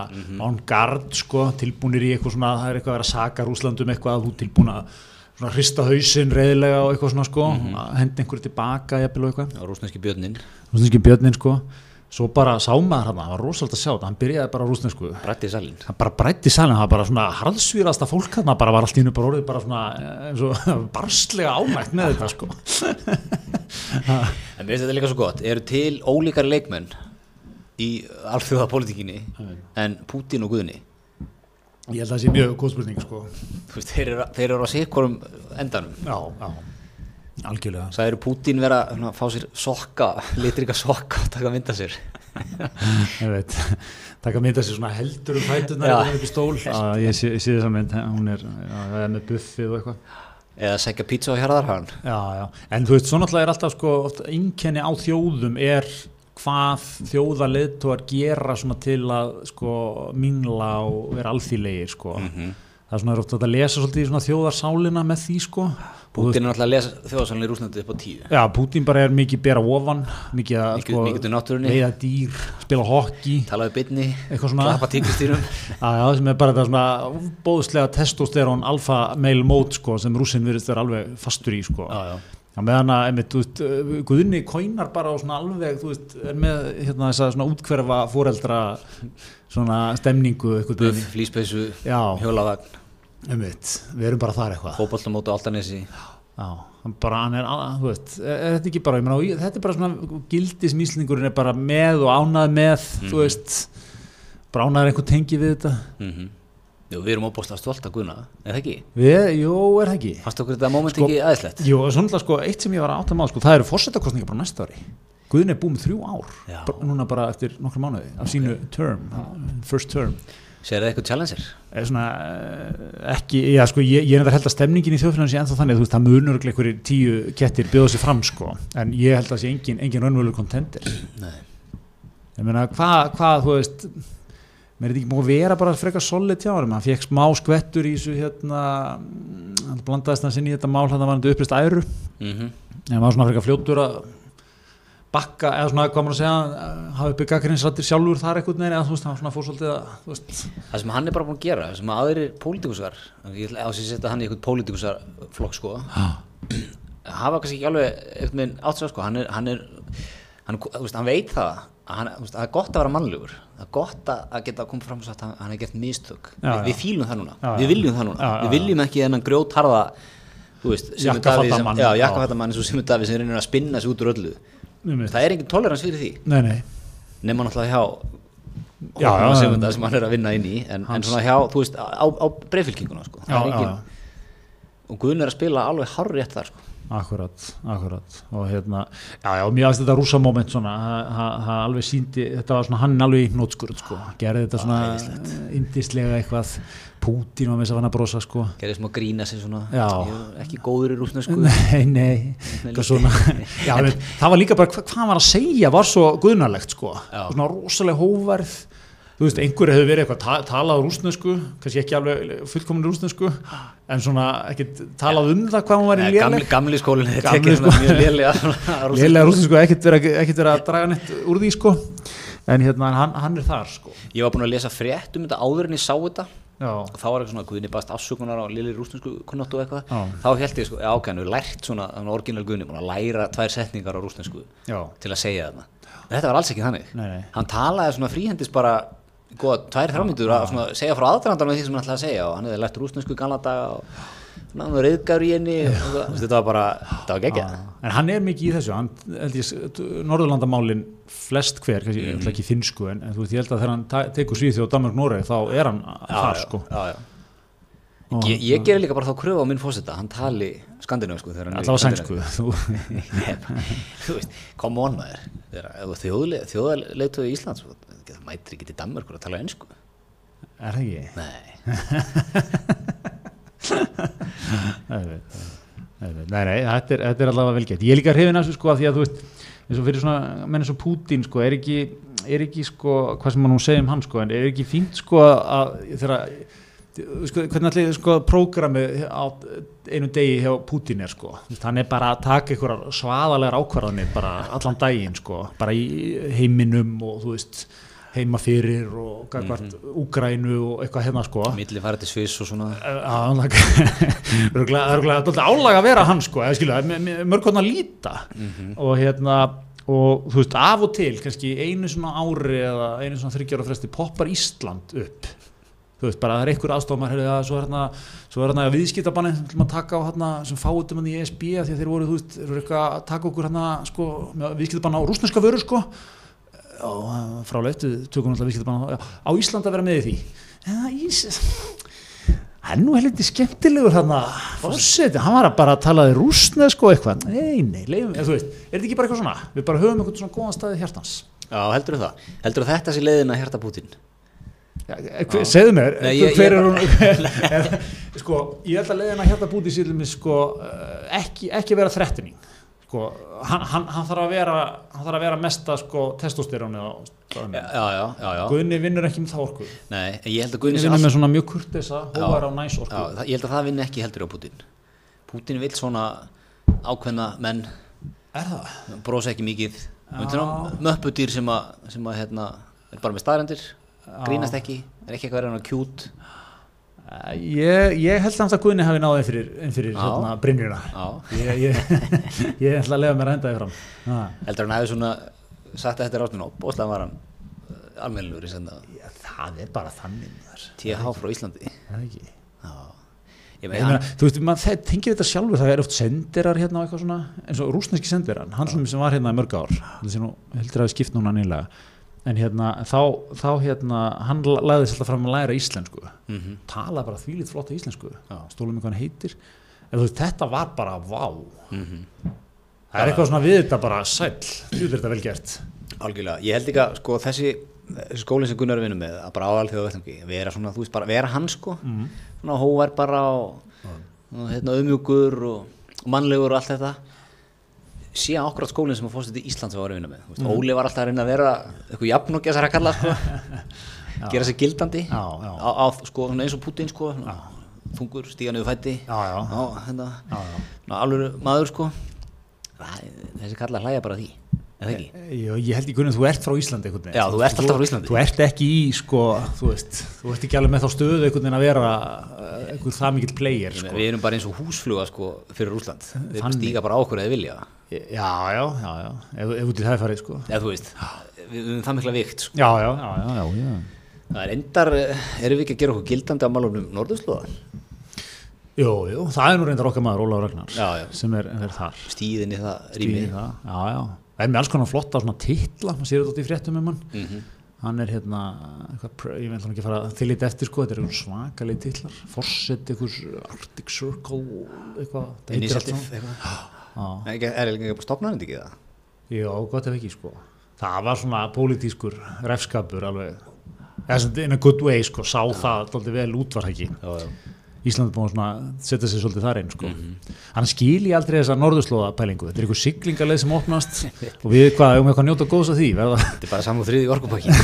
[SPEAKER 2] on guard, sko, tilbúnir í eitthvað svona, það er eitthvað að vera að saka Rúslandum eitthvað að þú tilbúin að svona hrista hausinn reyðilega og eitthvað svona, sko, mm -hmm. henda einhverju tilbaka, jafnvel og eitthvað.
[SPEAKER 1] og rúsneski björnin
[SPEAKER 2] Rúsneski björnin, sko, svo bara sá maður hann, það var rosalega að sjá þetta, hann byrjaði bara á rúsnesku,
[SPEAKER 1] brætti í salin
[SPEAKER 2] hann bara brætti salin, það var bara svona harðsvíraðasta fólk hann, bara var allt í hennu bara orðið bara svona, eh, eins og barslega ánægt með þetta, sko.
[SPEAKER 1] en mér finnst þetta líka svo gott eru til ólíkar leikmenn í alþjóða pólitíkinni en Pútín og Guðni
[SPEAKER 2] Ég held að það sé mjög góð spurning, sko.
[SPEAKER 1] Þú veist, þeir, eru, þeir eru á sikkorum endanum
[SPEAKER 2] Já, já, algjörlega.
[SPEAKER 1] Það eru Pútín vera að fá sér sokka, litrika sokka og taka mynda sér.
[SPEAKER 2] ég veit, taka mynd að sér svona heldur um
[SPEAKER 1] Já.
[SPEAKER 2] fætunar upp í stól já, ég sé, sé þess að mynd, hún er já, það er með buffið og eitthvað
[SPEAKER 1] Eða segja pizza á hérðarhagan.
[SPEAKER 2] já, já. en þú veist, svo náttúrulega er alltaf sko, oft einkenni á þjóðum er hvað þjóðarleiðtóar gera svona til að sko, mingla og vera alþýlegir sko. það er svona er ofta hægt að lesa svolítið í svona þjóðarsálina með því sko. Pútín,
[SPEAKER 1] Pútín er náttúrulega að lesa þjóðasalinn í Rúslandi upp á tíu.
[SPEAKER 2] já, Pútín bara er mikið bera ofan mikið að
[SPEAKER 1] Mikið- mikið til náttúrunni.
[SPEAKER 2] veiða dýr, spila hokki
[SPEAKER 1] Talaðu bytni,
[SPEAKER 2] eitthvað svona
[SPEAKER 1] klappa tíkristýrum.
[SPEAKER 2] Já, já, sem er bara þetta svona bóðslega testosterón alfa male mode sko, sem rússinn virðist vera alveg fastur í sko.
[SPEAKER 1] já.
[SPEAKER 2] Já, meðan að, einmitt, þú veist, uh, Guðni kóinar bara á svona alveg, þú veist, er með hérna þess að svona útkverfa foreldra svona stemningu eitthvað
[SPEAKER 1] Buff, flýspeysu,
[SPEAKER 2] Já,
[SPEAKER 1] hjólavagn,
[SPEAKER 2] einmitt, við erum bara þar eitthvað.
[SPEAKER 1] fótballtamót og altanesi.
[SPEAKER 2] Já, hann bara, hann er, að- þú veist, er, er þetta ekki bara, ég meina, og ég- þetta er bara svona, gildismýslingurinn er bara
[SPEAKER 1] Mm.
[SPEAKER 2] með og ánað með, þú veist, bara ánað er einhver tengi við þetta.
[SPEAKER 1] Mm -hmm. Jú, við erum óbúslega stolt að guðna, er það ekki?
[SPEAKER 2] Við, jú, er það ekki
[SPEAKER 1] Fannst okkur þetta moment
[SPEAKER 2] Sko-
[SPEAKER 1] ekki aðeinslegt?
[SPEAKER 2] Jú, og svona sko, eitt sem ég var að átta maður sko, það eru fórsetakostningar bara næsta ári Guðin er búið með þrjú ár
[SPEAKER 1] Já.
[SPEAKER 2] bara, núna bara eftir nokkru mánuði af sínu term, first term
[SPEAKER 1] Sér það eitthvað challenger?
[SPEAKER 2] eða svona eh, ekki, já sko ég, ég er þetta held að stemningin í þjóðfélaginu sé ennþá þannig að þú veist það munur einhverjir tíu kettir bjóða sér fram sko en ég held að sé engin, engin raunvölu kontender
[SPEAKER 1] Nei.
[SPEAKER 2] ég meina hvað, hva, þú veist mér er þetta ekki múið að vera bara frekar solid hjá hann, hann fekk smá skvettur í þessu hérna, mm, hann blandaðist hann sinni í þetta mál hann var hann upplist æru
[SPEAKER 1] Mm
[SPEAKER 2] en maður svona frekar fljótur að bakka, eða svona hvað maður að segja eh, hafa uppi gaggrinsrættir sjálfur þar eitthvað neina, þú veist, hann svona fór svolítið að þú veist,
[SPEAKER 1] Það sem hann er bara búin að gera, það sem aðrir pólitíkusar, ég ætla að setja hann í eitthvað pólitíkusarflokk sko, hafa kannski ekki alveg eitthvað minn átsvað sko, hann er, hann er, hann, þú veist, hann veit það, að hann, þú veist, það er gott að vera mannlegur, það er gott að- að geta að koma fram og sagt að hann er gert mistök,
[SPEAKER 2] Já,
[SPEAKER 1] við,
[SPEAKER 2] já.
[SPEAKER 1] við fílum það núna,
[SPEAKER 2] Já, já.
[SPEAKER 1] við viljum það núna,
[SPEAKER 2] Já, já,
[SPEAKER 1] við viljum ekki þennan grjótharða, þú veist, sem er Davíð sem,
[SPEAKER 2] Jakkafattamann.
[SPEAKER 1] já, jakkafattamann eins og sem er Davíð sem reynir að spinna sig út úr öllu,
[SPEAKER 2] um
[SPEAKER 1] það er engin tolerans fyrir því,
[SPEAKER 2] Nei, nei,
[SPEAKER 1] nema náttúrulega hjá
[SPEAKER 2] Já,
[SPEAKER 1] hópnum að
[SPEAKER 2] já, já.
[SPEAKER 1] segja þetta sem hann er að vinna inn í en, en
[SPEAKER 2] Hans-
[SPEAKER 1] svona hjá, þú veist, á, á breyfylkinguna sko.
[SPEAKER 2] já,
[SPEAKER 1] Það er
[SPEAKER 2] já,
[SPEAKER 1] engin- og Guðn er að spila alveg hár rétt þar sko.
[SPEAKER 2] akkurat, akkurat og hérna, já, já, mér aðeins þetta rúsa moment svona, það alveg síndi þetta var svona hann alveg í nótskurð sko gerði þetta svona eh, yndislega eitthvað Pútín var með þess að hann að brosa sko
[SPEAKER 1] gerði smá grína sig svona
[SPEAKER 2] Já.
[SPEAKER 1] ég er ekki góður í rúsnesku
[SPEAKER 2] Nei, nei, eitthvað svona já, en, það var líka bara, hva, hvað hann var að segja var svo guðnarlegt sko
[SPEAKER 1] Já.
[SPEAKER 2] svona rosalega hóverð þú veist, einhverju hefur verið eitthvað ta talað á rúsnesku, kannski ekki alveg fullkomin rúsnesku, en svona ekkert talað um það hvað hann var í
[SPEAKER 1] Nei,
[SPEAKER 2] léleg
[SPEAKER 1] gamli, gamli skólinn er
[SPEAKER 2] Gamli
[SPEAKER 1] tekið svona mjög lélega svona rússnesku.
[SPEAKER 2] Lélega rústin sko, ekkert vera, ekkert vera að draga neitt úr því sko En hérna, en hann, hann er þar sko
[SPEAKER 1] ég var búin að lesa frétt um þetta áður en ég sá þetta
[SPEAKER 2] Já,
[SPEAKER 1] og þá var eitthvað svona Guðni baðst afsökunar á léli rúsnesku kunnáttu og eitthvað
[SPEAKER 2] Já.
[SPEAKER 1] þá held ég sko, já ok, hann hefur lært svona hann orginal Guðni, búin að læra tvær setningar á rúsnesku
[SPEAKER 2] já,
[SPEAKER 1] til að segja þarna en þetta var alls ekki þannig
[SPEAKER 2] Nei, nei.
[SPEAKER 1] hann talaði svona fríhendis bara góða tvær þrámyndur að svona, segja frá aðdrandanum því sem hann ætlaði að segja og hann hefði lært rúsnesku ganladaga og svona, hann var reyðgar í henni og, eitthvað. Þú veist, þetta var bara, þetta var geggja
[SPEAKER 2] já En hann er mikið í þessu hann, held ég, s- Norðurlandamálin flest hver, kannski, mm. ekki finnsku en, en þú veist, ég held að þegar hann ta- tekur Svíþjóð og Danmark Noreg, þá er hann þar sko
[SPEAKER 1] já, já.
[SPEAKER 2] Og-
[SPEAKER 1] Ég, ég gerir líka bara þá kröfu á minn fósita hann tali skandinavísku þegar hann er í
[SPEAKER 2] Alltaf á
[SPEAKER 1] Skandinavíu.
[SPEAKER 2] sænsku þú-
[SPEAKER 1] Nei, bara, þú veist, come on maður þegar þjóðleitu í Íslands þú mætir ekki til Danmörkur að tala ennsku
[SPEAKER 2] Er það ekki?
[SPEAKER 1] nei,
[SPEAKER 2] Auðvitað, auðvitað. Nei, nei, þetta er, þetta er allavega vel gett. Ég er líka hrifin af þessu sko að því að þú veist, eins og fyrir svona menn eins og Pútín sko, er ekki, er ekki sko, hvað sem maður nú segja um hann sko, en er ekki fínt sko að þeirra, sko, hvernig allir sko prógramið á einu degi hjá Pútín er sko, Þú veist, hann er bara að taka einhverjar svaðalegar ákvarðanir bara allan daginn sko, bara í heiminum og þú veist, heima fyrir og gagvart mm Úgrænu og eitthvað hérna sko.
[SPEAKER 1] milli farið til Sviss og svona
[SPEAKER 2] Örgulega, örgulega, þetta er álag að vera hann sko, eða skilja, mörgkotna líta og hérna og þú veist, af og til, kannski einu svona ári eða einu svona þryggjara fresti poppar Ísland upp þú veist, bara það er einhver aðstofmar, heyrðu það, svo er hérna svo er hérna viðskiptabanni sem ætlum að taka á hérna, sem fáutum hann í ESB af því að þeir voru, þú veist, eru eitthvað að taka okkur hérna, sko, með viðskiptabanna á rúsneska vöru sko, og frálegt, við tökum alltaf viðskiptabanna á, á Ísland að vera með í því eða Ís, hann er nú helviti skemmtilegur hann að fórseti, hann var að bara að talaði rúsnesku og eitthvað, nei, nei, leifum eða þú veist, er þetta ekki bara eitthvað svona, við bara höfum eitthvað svona góðan staði hjartans
[SPEAKER 1] já, heldur það, heldur þetta sé leiðin að hérta Putin
[SPEAKER 2] ja, hver, segðu mér,
[SPEAKER 1] Nei,
[SPEAKER 2] hver-
[SPEAKER 1] ég- ég-
[SPEAKER 2] hver er hún er, sko, ég held að leiðina hjarta búti síðan með sko eh, ekki, ekki vera þrettuning sko, hann, hann, hann þarf að vera hann þarf að vera mesta sko testosterónu á staðnum,
[SPEAKER 1] já, já, já, já.
[SPEAKER 2] Guðni vinnur ekki með það orku
[SPEAKER 1] Nei, en ég held að
[SPEAKER 2] Guðni
[SPEAKER 1] Guðni sé
[SPEAKER 2] vinnur
[SPEAKER 1] alltaf,
[SPEAKER 2] með svona mjög kurtesa, hóvar á næs
[SPEAKER 1] já,
[SPEAKER 2] orku
[SPEAKER 1] það- ég held að það vinni ekki heldur á Putin Putin vil svona ákveðna menn
[SPEAKER 2] er það?
[SPEAKER 1] brosa ekki mikið
[SPEAKER 2] Já.
[SPEAKER 1] möppudýr sem að, sem að hérna, er bara með staðrendir grínast ekki, er ekki eitthvað reyna kjút
[SPEAKER 2] Eh, Ég, ég held samt að Guðni hafi náðið fyrir, inn fyrir
[SPEAKER 1] Já.
[SPEAKER 2] hérna, Brynjuna
[SPEAKER 1] Já.
[SPEAKER 2] ég, ég, ég ætla að lefa mér að henda því fram Ha.
[SPEAKER 1] heldur hann hefði svona sagt að þetta er ástunum og slæðan var hann uh, almennilegur í senda
[SPEAKER 2] Já, það er bara þannig maður.
[SPEAKER 1] TH frá Íslandi
[SPEAKER 2] Er það ekki?
[SPEAKER 1] já. ég
[SPEAKER 2] Ég
[SPEAKER 1] meina
[SPEAKER 2] meina,
[SPEAKER 1] hann,
[SPEAKER 2] þú veist, maður þe- tengir þetta sjálfur það er oft sendirar hérna og eitthvað svona eins og rúsneski sendirar, hann sem, sem var hérna í mörg ár heldur, nú, heldur að hafi skipt núna nýlega en hérna, þá, þá hérna, hann laði sér alltaf fram að læra íslensku
[SPEAKER 1] mm
[SPEAKER 2] talaði bara þvílít flotta íslensku
[SPEAKER 1] Já.
[SPEAKER 2] stólum hvað hann heitir en þú veist, þetta var bara vá það
[SPEAKER 1] -hmm.
[SPEAKER 2] er eitthvað svona við þetta bara sæll þú verður þetta vel gert
[SPEAKER 1] Algjörlega, ég held líka sko þessi þessi skólinn sem Gunnar er að vinna með að bara á alþjóða vettlingi, vera svona, þú veist bara vera hann sko,
[SPEAKER 2] Mhm.
[SPEAKER 1] svona hóvar bara og, og hérna umjúkur og, og mannlegur og allt þetta síðan okkur átt skólinn sem að fórstu til Íslands var að vinna með, þú
[SPEAKER 2] Mhm.
[SPEAKER 1] veist, Óli var alltaf að reyna að vera eitthvað jafn og gæsar að kalla sko gera sig gildandi
[SPEAKER 2] Já, já.
[SPEAKER 1] Á, á, sko, svona eins og Putin sko svona, þungur, stíga niður fætti
[SPEAKER 2] já, já, já,
[SPEAKER 1] hérna,
[SPEAKER 2] já.
[SPEAKER 1] svona alveg maður sko Æ, þessi kalla hlæja bara að því, eða ekki?
[SPEAKER 2] Jó, Eh, ég held í grunnum að þú ert frá Íslandi einhvern veginn.
[SPEAKER 1] Já, þú ert alltaf frá Íslandi.
[SPEAKER 2] Þú ert ekki í, sko, þú veist, þú ert ekki alveg með þá stöðu einhvern veginn að vera eh, einhver það mikill player,
[SPEAKER 1] Sko.
[SPEAKER 2] sko.
[SPEAKER 1] Við erum bara eins og húsfluga sko, fyrir Rúsland. Við
[SPEAKER 2] Þannig.
[SPEAKER 1] stíga bara á okkur eða vilja.
[SPEAKER 2] Já, já, já, já, ef, ef út í það er farið, sko.
[SPEAKER 1] Eða þú veist, við við erum það mikla vikt. Sko.
[SPEAKER 2] Já, já, já, já, já, já.
[SPEAKER 1] Það er endar, eh, erum við ekki að gera okkur gildandi á málumnum norðurslóða?
[SPEAKER 2] Jú, jú, það er nú reyndar okkar maður, Ólafur Ragnar,
[SPEAKER 1] Já, já.
[SPEAKER 2] sem er, er þar.
[SPEAKER 1] Stíðin í það
[SPEAKER 2] Í
[SPEAKER 1] rými.
[SPEAKER 2] það, já, já. Það er með alls konar flotta svona titla, maður sér þetta út í fréttum um hann.
[SPEAKER 1] Mm
[SPEAKER 2] Hann er hérna, eitthvað, pr- ég veit hann ekki að fara til lítið eftir, sko, þetta er einhvern svakalegi titlar. Forsett, einhvers Arctic Circle, eitthvað. þetta heitir allt saman.
[SPEAKER 1] Initiative, eitthvað.
[SPEAKER 2] Já.
[SPEAKER 1] Nei, ekki- Er ekki bara stopnaður þetta ekki það?
[SPEAKER 2] Já, gott ef ekki sko. Það var svona pólitískur refskapur alveg. Eða sem in a good way sko, sá það alltaf vel út var það ekki.
[SPEAKER 1] Já, já. Mhm.
[SPEAKER 2] Ísland er búin að svona setja sér svolítið þar einn sko. Hann skil ég aldrei þessa norðurslóða pælingu. Þetta er einhver siglingaleið sem opnast og við hvað, um eitthvað að njóta góðs að því. Verða,
[SPEAKER 1] Þetta er bara saman og þriði orkupakki.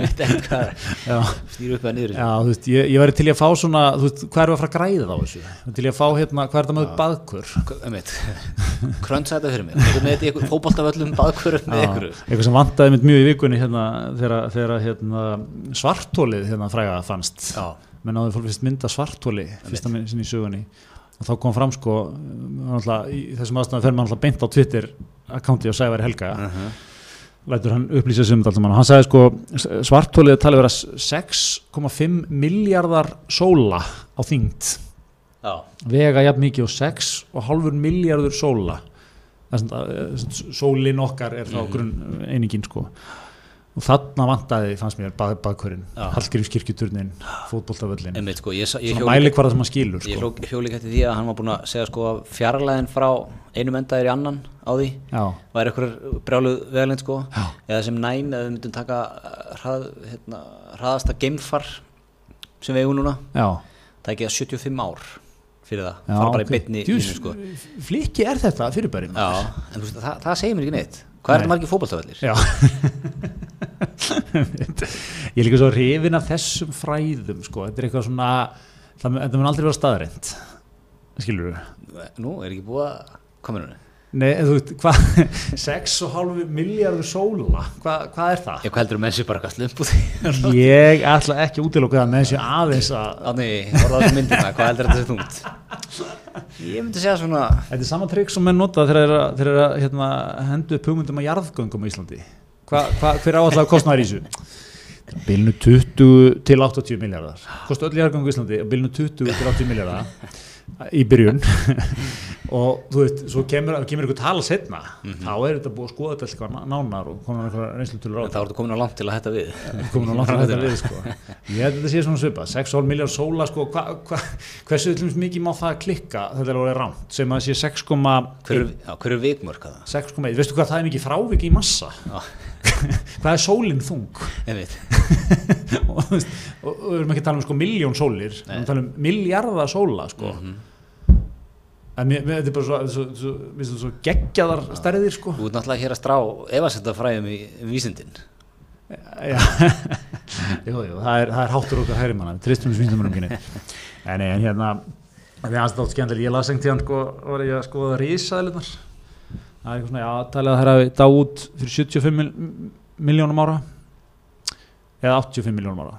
[SPEAKER 1] Þetta er eitthvað,
[SPEAKER 2] já,
[SPEAKER 1] stýru upp eða niður.
[SPEAKER 2] já, þú veist, ég, ég væri til í að fá svona, þú veist, hvað er að fara að græða þá þessu? Til í að fá hérna, hvað er það með baðkur?
[SPEAKER 1] Ömmit, krönsa þetta fyrir mig. Eitthvað með þetta í eitthvað fótboltavöllum, baðkurum með
[SPEAKER 2] Já,
[SPEAKER 1] eitthvað.
[SPEAKER 2] eitthvað sem vantaði mynd mjög í vikunni hérna, þegar, þegar hérna, svartólið hérna, fræga fannst
[SPEAKER 1] Já.
[SPEAKER 2] menn áður fólk fyrst mynda svartóli fyrsta mynd sinni í sögunni og þá kom fram sko um, náttúrulega í þessum aðstæðan fer maður alltaf beint á Twitter akkanti á Sævar Helga lætur hann upplýsa sig um þetta allt saman og hann sagði sko svartólið talið vera 6,5 miljardar sóla á þyngd
[SPEAKER 1] Já.
[SPEAKER 2] vega jafn mikið og 6,5 miljardur sóla þessum að eh, sólin okkar er þá
[SPEAKER 1] Mhm.
[SPEAKER 2] grunn einingin sko og þarna vantaði fannst mér bað, baðkurinn,
[SPEAKER 1] Já.
[SPEAKER 2] Hallgrímskirkjuturnin fótboltavöllin,
[SPEAKER 1] Ömmit, sko, ég, sa- ég hjó-
[SPEAKER 2] svona mæli hvað það sem að
[SPEAKER 1] Ég
[SPEAKER 2] skilur sko.
[SPEAKER 1] hló- hjó líka eftir því að hann var búinn að segja sko að fjarlæðin frá einum endaðir í annan á því
[SPEAKER 2] já,
[SPEAKER 1] væri eitthvað brjáluð veðalind sko
[SPEAKER 2] Já.
[SPEAKER 1] eða sem næm eða við myndum taka uh, hrað, hérna, hraðasta geimfar sem við eigum núna
[SPEAKER 2] já,
[SPEAKER 1] það ekki að 75 ár fyrir það
[SPEAKER 2] já
[SPEAKER 1] fara bara
[SPEAKER 2] ok.
[SPEAKER 1] í beinni
[SPEAKER 2] Djús,
[SPEAKER 1] línu, sko.
[SPEAKER 2] flikki er þetta fyrirbæri
[SPEAKER 1] Já, en þú veist, það, það segir mér ekki neitt hvað er
[SPEAKER 2] Nei.
[SPEAKER 1] þetta margir fótballtafellir?
[SPEAKER 2] Já Ég er líka svo hrifin af þessum fræðum sko. þetta er eitthvað svona það, mun- þetta mun aldrei vera staðreind skilur við
[SPEAKER 1] Nú, er ekki búið að koma núna?
[SPEAKER 2] Nei, en þú veit, hvað, 6,5 miljardur sóla, hva, hvað er það?
[SPEAKER 1] Ég hvað heldur að menn sér bara eitthvað slumpuð
[SPEAKER 2] Ég ætla ekki að útiloka það með þessu aðeins að,
[SPEAKER 1] Ánni, orðaðu myndina, hérna. hvað heldur þetta sé þungt? Ég myndi segja svona
[SPEAKER 2] þetta er sama trikk sem menn nota þegar þeir eru að- þeir eru að hérna, hendu upp hugmyndum á jarðgöngum á Íslandi. Hva, hva, hver áallega kostnaður í þessu? Bilnu 20 til 80 miljardar. Kostu öll jarðgöng á Íslandi á bilnu 20 til 80 miljardar í byrjun og þú veit, svo kemur, kemur eitthvað tala setna, þá er þetta búið að skoða þetta eitthvað nánar og konar eitthvað reynslutulur á
[SPEAKER 1] en þá ertu komin á langt til að hætta við
[SPEAKER 2] komin á langt að þetta við sko. ég held að þetta sé svona svipa 6,5 miljón sóla sko, hva, hva, hversu til dæmis mikið má það klikka þetta er alveg rámt sem að sé 6,1
[SPEAKER 1] Hver er- já, hver er vikmörk að það?
[SPEAKER 2] 6,1, veistu hvað það er mikið frávik í massa
[SPEAKER 1] Já.
[SPEAKER 2] hvað er sólin þung
[SPEAKER 1] Einmitt.
[SPEAKER 2] og, þú veist, og, og við erum ekki að tala um sko miljón sólir, við erum að tala um miljarda sóla sko
[SPEAKER 1] Mhm.
[SPEAKER 2] en mér, mér, þetta er bara svo, svo, svo, svo, svo geggjaðar stærðir sko
[SPEAKER 1] Þú ert náttúrulega hér að strá efasetta fræðum í um vísindin.
[SPEAKER 2] Já, jú, jú, það er, það er háttur okkar hægri manna, við tristum við svindumurum kynni. En, nei, en hérna, það er aðstátt skemmtileg, ég las einn tíðan sko, var ég að skoða risaðlunar. Það er eitthvað svona, já, talið að það hafi dáð út fyrir 75 mil, miljónum ára, eða 85 miljónum ára.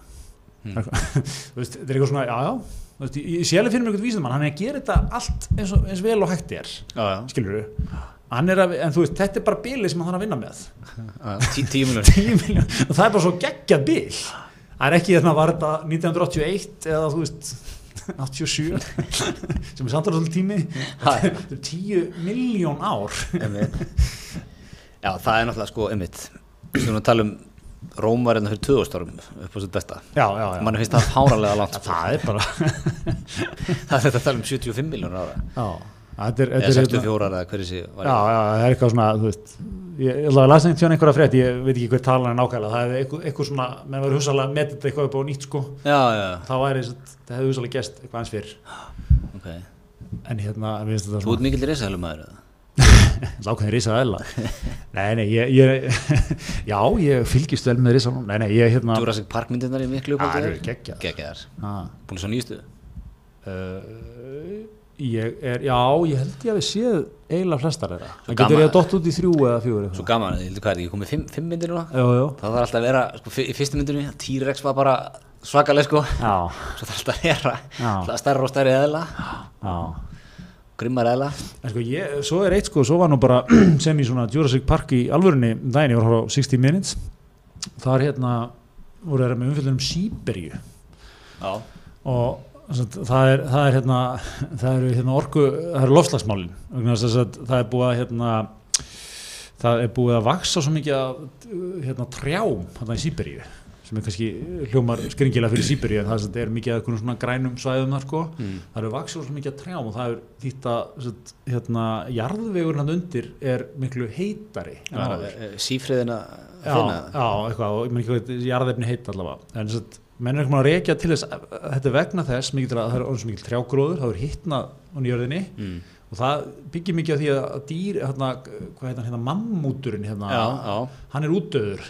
[SPEAKER 1] Hmm.
[SPEAKER 2] Mm. Þú veist, þetta er eitthvað svona, já, já, þú veist, ég, ég sé alveg fyrir mér eitthvað vísindamann, hann er að gera þetta allt eins, og, eins vel og hægt er,
[SPEAKER 1] Já, já.
[SPEAKER 2] skilur du? Hann er að, en þú veist, þetta er bara bilið sem hann er að vinna með.
[SPEAKER 1] Tí, tíu miljonir.
[SPEAKER 2] 10 miljón og það er bara svo geggjað bil það er ekki hérna þarna var þetta 1981 eða þú veist 87 sem er samtalið svolítið tími þetta er 10 miljón ár
[SPEAKER 1] já, það er náttúrulega sko, einmitt. Svona að tala um Róm var hérna fyrir 2000 árum upp á sitt besta
[SPEAKER 2] já, já, já.
[SPEAKER 1] mann finnst það fáranlega langt sko.
[SPEAKER 2] það er bara
[SPEAKER 1] það er þetta að tala um 75 miljónur ára
[SPEAKER 2] já, þetta
[SPEAKER 1] eða
[SPEAKER 2] er, þetta er hérna-
[SPEAKER 1] 64 ára eða hverju sé var ég.
[SPEAKER 2] já, já, það er eitthvað svona þú veist, ég, ég alveg las einhvern einhverja frétt ég veit ekki hver talan er nákvæmlega það er eitthvað, eitthvað svona, menn verður húsalega að meta þetta eitthvað upp á nýtt sko,
[SPEAKER 1] já, já,
[SPEAKER 2] þá væri þess það hefur húsalega gest eitthvað eins fyrr
[SPEAKER 1] ok
[SPEAKER 2] en hérna, við veist
[SPEAKER 1] Þú
[SPEAKER 2] þetta
[SPEAKER 1] ert
[SPEAKER 2] svona
[SPEAKER 1] mikill reysælum maður eða?
[SPEAKER 2] lákvæðin risa aðeila nei, nei, ég, ég já, ég fylgist vel með risa nei, nei, ég hérna
[SPEAKER 1] Jurassic Park myndirnar í miklu
[SPEAKER 2] Já,
[SPEAKER 1] uppáldið
[SPEAKER 2] þær eru geggjaðar.
[SPEAKER 1] Geggjaðar
[SPEAKER 2] að,
[SPEAKER 1] Búin svo nýjustu
[SPEAKER 2] uh, ég er, já, ég held ég að við séð eiginlega flestar þeirra það
[SPEAKER 1] gaman-
[SPEAKER 2] getur ég að dott út í þrjú eða fjúri
[SPEAKER 1] Svo gaman, ég heldur hvað er ekki komið fimm, fimm myndir núna
[SPEAKER 2] já, já,
[SPEAKER 1] Það þarf alltaf að vera, sko, fyr- í fyrstu myndinni T-Rex var bara svakaleg sko
[SPEAKER 2] já,
[SPEAKER 1] Svo þarf alltaf að vera
[SPEAKER 2] Já.
[SPEAKER 1] alltaf stærra og stærri eðla
[SPEAKER 2] já.
[SPEAKER 1] Grimmar eðla
[SPEAKER 2] En sko ég, svo er eitt sko, svo var nú bara sem í svona Jurassic Park í alvörunni um daginn, ég var að horfa á 60 Minutes þar hérna voru þeirra með um umfjöldunum Sýberju
[SPEAKER 1] Já,
[SPEAKER 2] og sem sagt, það er, það er hérna það eru hérna orku, það eru lofslagsmálin vegna þess að það er búið að hérna það er búið að vaksa svo mikið af hérna trjám hérna í Sýberju sem er kannski hljómar skringilega fyrir Sýberju en það sem sagt er mikið af einhvern svona grænum svæðum þar sko
[SPEAKER 1] mm.
[SPEAKER 2] það eru vaksjóð svo mikið að trjám og það er þýtt að sem sagt, hérna, jarðvegur hann undir er miklu heitari en áður.
[SPEAKER 1] eh, Sífriðina að
[SPEAKER 2] já,
[SPEAKER 1] finna
[SPEAKER 2] já, eitthvað og ég menn ekki hvað þetta jarðefni heit allavega en sem sagt, menn er ekki maður að reykja til þess að- að þetta er vegna þess mikið til að það er orðin svo mikil trjágróður það er hittna hann í jörðinni
[SPEAKER 1] mm.
[SPEAKER 2] og það byggir mikið á því að dýr hérna, hvað heit hann hérna, mammúturinn hérna,
[SPEAKER 1] Já, já
[SPEAKER 2] hann er útdöður